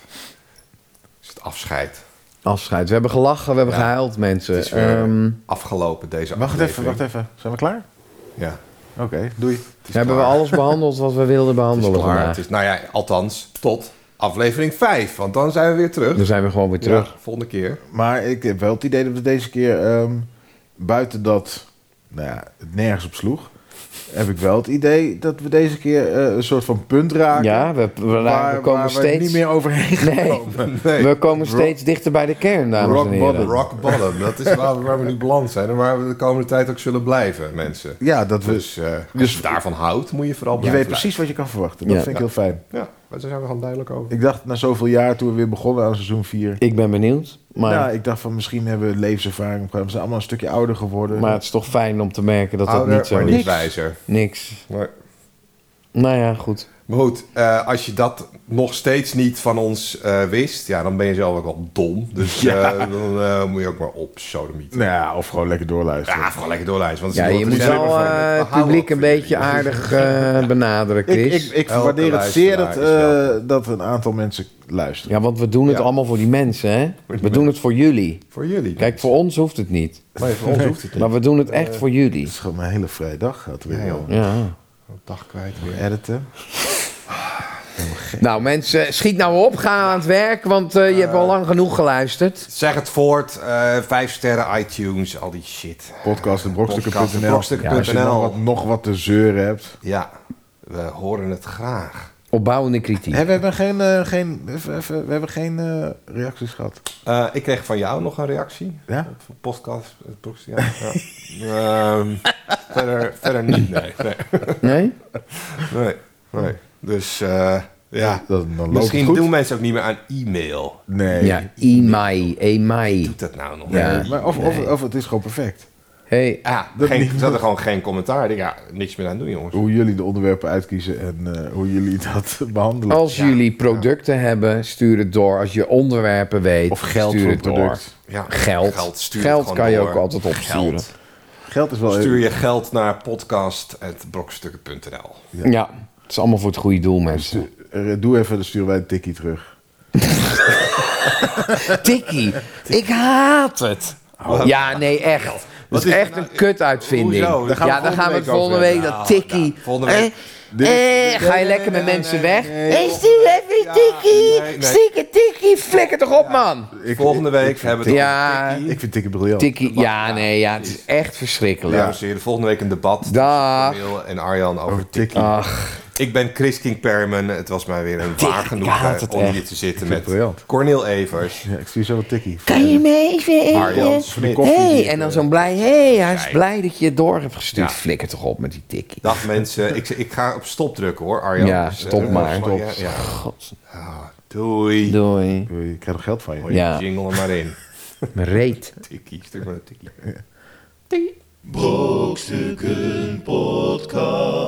[SPEAKER 2] Is het afscheid.
[SPEAKER 4] Afscheid. We hebben gelachen, we hebben
[SPEAKER 2] Ja.
[SPEAKER 4] gehuild, mensen.
[SPEAKER 2] Het is weer
[SPEAKER 4] Ehm,
[SPEAKER 2] afgelopen deze
[SPEAKER 3] Wacht even,
[SPEAKER 2] aflevering.
[SPEAKER 3] wacht even. Zijn we klaar?
[SPEAKER 2] Ja.
[SPEAKER 3] Oké, doei.
[SPEAKER 4] hebben we alles behandeld wat we wilden
[SPEAKER 2] Het is
[SPEAKER 4] behandelen
[SPEAKER 2] klaar. Het
[SPEAKER 4] vandaag?
[SPEAKER 2] is, nou ja, althans, tot aflevering 5. Want dan zijn we weer terug.
[SPEAKER 4] Dan zijn we gewoon weer terug.
[SPEAKER 2] Ja, volgende keer.
[SPEAKER 3] Maar ik heb wel het idee dat we deze keer, ehm, buiten dat nou ja, het nergens op sloeg, heb ik wel het idee dat we deze keer eh, een soort van punt
[SPEAKER 4] Ja,
[SPEAKER 3] raken.
[SPEAKER 4] we, we- we
[SPEAKER 3] waar,
[SPEAKER 4] komen
[SPEAKER 3] waar we
[SPEAKER 4] steeds...
[SPEAKER 3] niet meer overheen gaan.
[SPEAKER 4] Nee,
[SPEAKER 2] Nee.
[SPEAKER 4] we komen steeds dichter bij de kern, dames
[SPEAKER 3] Rock
[SPEAKER 4] en heren.
[SPEAKER 3] bottom.
[SPEAKER 2] Rock bottom. Dat is waar, waar we nu beland zijn en waar we de komende tijd ook zullen blijven, mensen.
[SPEAKER 3] Ja, dat we,
[SPEAKER 2] Dus, eh als je daarvan houdt, moet je vooral
[SPEAKER 3] je
[SPEAKER 2] blijven.
[SPEAKER 3] weet precies wat je kan verwachten. Dat
[SPEAKER 4] Ja.
[SPEAKER 3] vind ik heel fijn.
[SPEAKER 2] Ja, maar daar zijn we gewoon duidelijk over.
[SPEAKER 3] Ik dacht na zoveel jaar, toen we weer begonnen aan seizoen 4...
[SPEAKER 4] Ik ben benieuwd, maar,
[SPEAKER 3] Nou, ik dacht van misschien hebben we levenservaring. We zijn allemaal een stukje ouder geworden.
[SPEAKER 4] maar het is toch fijn om te merken dat dat
[SPEAKER 2] Ouder,
[SPEAKER 4] niet zo
[SPEAKER 2] maar
[SPEAKER 4] is.
[SPEAKER 2] niet wijzer.
[SPEAKER 4] Niks.
[SPEAKER 2] Maar,
[SPEAKER 4] Nou ja, goed.
[SPEAKER 2] maar goed, eh, als je dat nog steeds niet van ons eh, wist, ja, dan ben je zelf ook wel dom. Dus eh, dan eh, moet je ook maar op sodomieten.
[SPEAKER 3] Nou ja, of gewoon lekker doorluisteren.
[SPEAKER 2] Ja, gewoon lekker doorlijsten. Want
[SPEAKER 4] Ja, je moet wel eh, het publiek een beetje aardig eh, benaderen,
[SPEAKER 3] Ik,
[SPEAKER 4] Chris.
[SPEAKER 3] ik, ik
[SPEAKER 2] Elke
[SPEAKER 3] waardeer het zeer dat,
[SPEAKER 2] luisteraar is
[SPEAKER 3] eh, dat een aantal mensen luisteren.
[SPEAKER 4] Ja, want we doen het
[SPEAKER 2] Ja.
[SPEAKER 4] allemaal voor die mensen, hè? We doen het voor jullie.
[SPEAKER 2] Voor jullie.
[SPEAKER 4] Kijk, voor ons hoeft het niet.
[SPEAKER 2] Maar voor ons hoeft het niet.
[SPEAKER 4] Maar we doen het echt voor jullie.
[SPEAKER 3] Het is gewoon een hele vrije dag gehad weer.
[SPEAKER 2] Ja, joh.
[SPEAKER 4] Ja.
[SPEAKER 2] Dag kwijt weer.
[SPEAKER 3] Editen.
[SPEAKER 4] Nou mensen, schiet nou op, ga aan het werk, want eh, je hebt al lang genoeg geluisterd.
[SPEAKER 2] Zeg het voort. eh vijf sterren, iTunes, al die shit.
[SPEAKER 3] Podcast en brokstukken.nl.
[SPEAKER 2] Podcast@brokstukken.nl.
[SPEAKER 3] Ja, als je nog wat, nog wat te zeuren hebt.
[SPEAKER 2] Ja, we horen het graag.
[SPEAKER 4] Opbouwende kritiek.
[SPEAKER 3] Hé, we hebben geen, eh, geen, even, even, we hebben geen eh, reacties gehad.
[SPEAKER 2] Eh, ik kreeg van jou nog een reactie.
[SPEAKER 3] Ja?
[SPEAKER 2] Op een podcast. eh, proxy, ja. ja. Ehm, verder, verder niet, nee. Nee,
[SPEAKER 4] Nee?
[SPEAKER 2] nee. nee. Dus eh, ja.
[SPEAKER 3] Dan, dan loopt het
[SPEAKER 2] Misschien
[SPEAKER 3] goed.
[SPEAKER 2] doen mensen ook niet meer aan e-mail.
[SPEAKER 3] Nee.
[SPEAKER 4] Ja, e-mai, e-mai.
[SPEAKER 2] Doet dat nou nog?
[SPEAKER 4] Ja.
[SPEAKER 2] Nee.
[SPEAKER 3] Maar of, of, of het is gewoon perfect.
[SPEAKER 4] Hey,
[SPEAKER 2] Ja,
[SPEAKER 3] Dat
[SPEAKER 2] geen,
[SPEAKER 3] niet.
[SPEAKER 2] ze hadden gewoon geen commentaar. Ik denk, ja, niks meer aan doen, jongens.
[SPEAKER 3] Hoe jullie de onderwerpen uitkiezen en eh, hoe jullie dat behandelen.
[SPEAKER 4] als jullie producten hebben, stuur het door. Als je onderwerpen weet,
[SPEAKER 3] Of geld
[SPEAKER 4] stuur
[SPEAKER 3] voor
[SPEAKER 4] het
[SPEAKER 3] een
[SPEAKER 4] door.
[SPEAKER 3] product.
[SPEAKER 2] Ja,
[SPEAKER 4] Geld.
[SPEAKER 2] Geld, stuur het
[SPEAKER 4] Geld
[SPEAKER 2] gewoon
[SPEAKER 4] kan je
[SPEAKER 2] door.
[SPEAKER 4] ook altijd opsturen.
[SPEAKER 2] Geld.
[SPEAKER 3] Geld is wel...
[SPEAKER 2] Stuur je geld naar podcast.brokstukken.nl.
[SPEAKER 4] Ja. het is allemaal voor het goede doel, mensen.
[SPEAKER 3] Eh, Doe even, dan sturen wij een tikkie terug.
[SPEAKER 4] Tikkie, ik haat het. Oh. Ja, nee, echt. Dat is
[SPEAKER 2] is er
[SPEAKER 4] echt een kutuitvinding.
[SPEAKER 2] Hoezo? Daar gaan we
[SPEAKER 4] Ja, dan gaan we het
[SPEAKER 2] volgende
[SPEAKER 4] volgende
[SPEAKER 2] week
[SPEAKER 4] week,
[SPEAKER 2] over
[SPEAKER 4] dat
[SPEAKER 2] hebben.
[SPEAKER 4] tikkie.
[SPEAKER 2] Ja, volgende week.
[SPEAKER 4] Eh, eh, ga je lekker met mensen weg? Hey, stuur even die
[SPEAKER 2] Ja,
[SPEAKER 4] tikkie.
[SPEAKER 2] nee, nee.
[SPEAKER 4] Stieke tikkie, flikker toch op, man.
[SPEAKER 3] Ik-
[SPEAKER 2] Volgende week hebben we het
[SPEAKER 4] Ja,
[SPEAKER 3] Ik vind Tikken briljant.
[SPEAKER 4] tikkie. Ja, nee, ja, het is echt
[SPEAKER 2] over-
[SPEAKER 4] verschrikkelijk.
[SPEAKER 2] Dames en heren, volgende week een debat tussen
[SPEAKER 4] Dag.
[SPEAKER 2] Camille en Arjan over
[SPEAKER 3] Over Tikkie.
[SPEAKER 4] Ach,
[SPEAKER 2] Ik ben Chris King Perman. Het was mij weer een waar
[SPEAKER 4] ik haat
[SPEAKER 2] genoegen
[SPEAKER 4] het
[SPEAKER 2] om
[SPEAKER 4] echt.
[SPEAKER 2] hier te zitten
[SPEAKER 3] vind
[SPEAKER 2] met
[SPEAKER 3] het briljant.
[SPEAKER 2] Cornel Evers,
[SPEAKER 3] Ja, ik zie zo wat Tikkie.
[SPEAKER 4] kan je mee? Ik wil
[SPEAKER 2] Arjan
[SPEAKER 4] even...
[SPEAKER 2] Smit.
[SPEAKER 3] koffie
[SPEAKER 4] Hey,
[SPEAKER 3] die-
[SPEAKER 4] en dan zo'n blij... hey, hij is blij dat je het door hebt gestuurd.
[SPEAKER 2] Ja.
[SPEAKER 4] Flikker toch op met die tikkie.
[SPEAKER 2] Dag mensen, ik, ik ga op stop drukken hoor, Arjan.
[SPEAKER 4] Ja,
[SPEAKER 2] eh,
[SPEAKER 4] stop maar.
[SPEAKER 2] sorry,
[SPEAKER 4] Stop.
[SPEAKER 2] ja. Ah, doei.
[SPEAKER 4] Doei.
[SPEAKER 3] Ik krijg nog geld van je.
[SPEAKER 2] Gooi
[SPEAKER 4] Ja.
[SPEAKER 2] die jingle er maar in.
[SPEAKER 4] Mijn reet.
[SPEAKER 2] Tikkie, stuk maar een tikkie.
[SPEAKER 1] Brokstukken Podcast.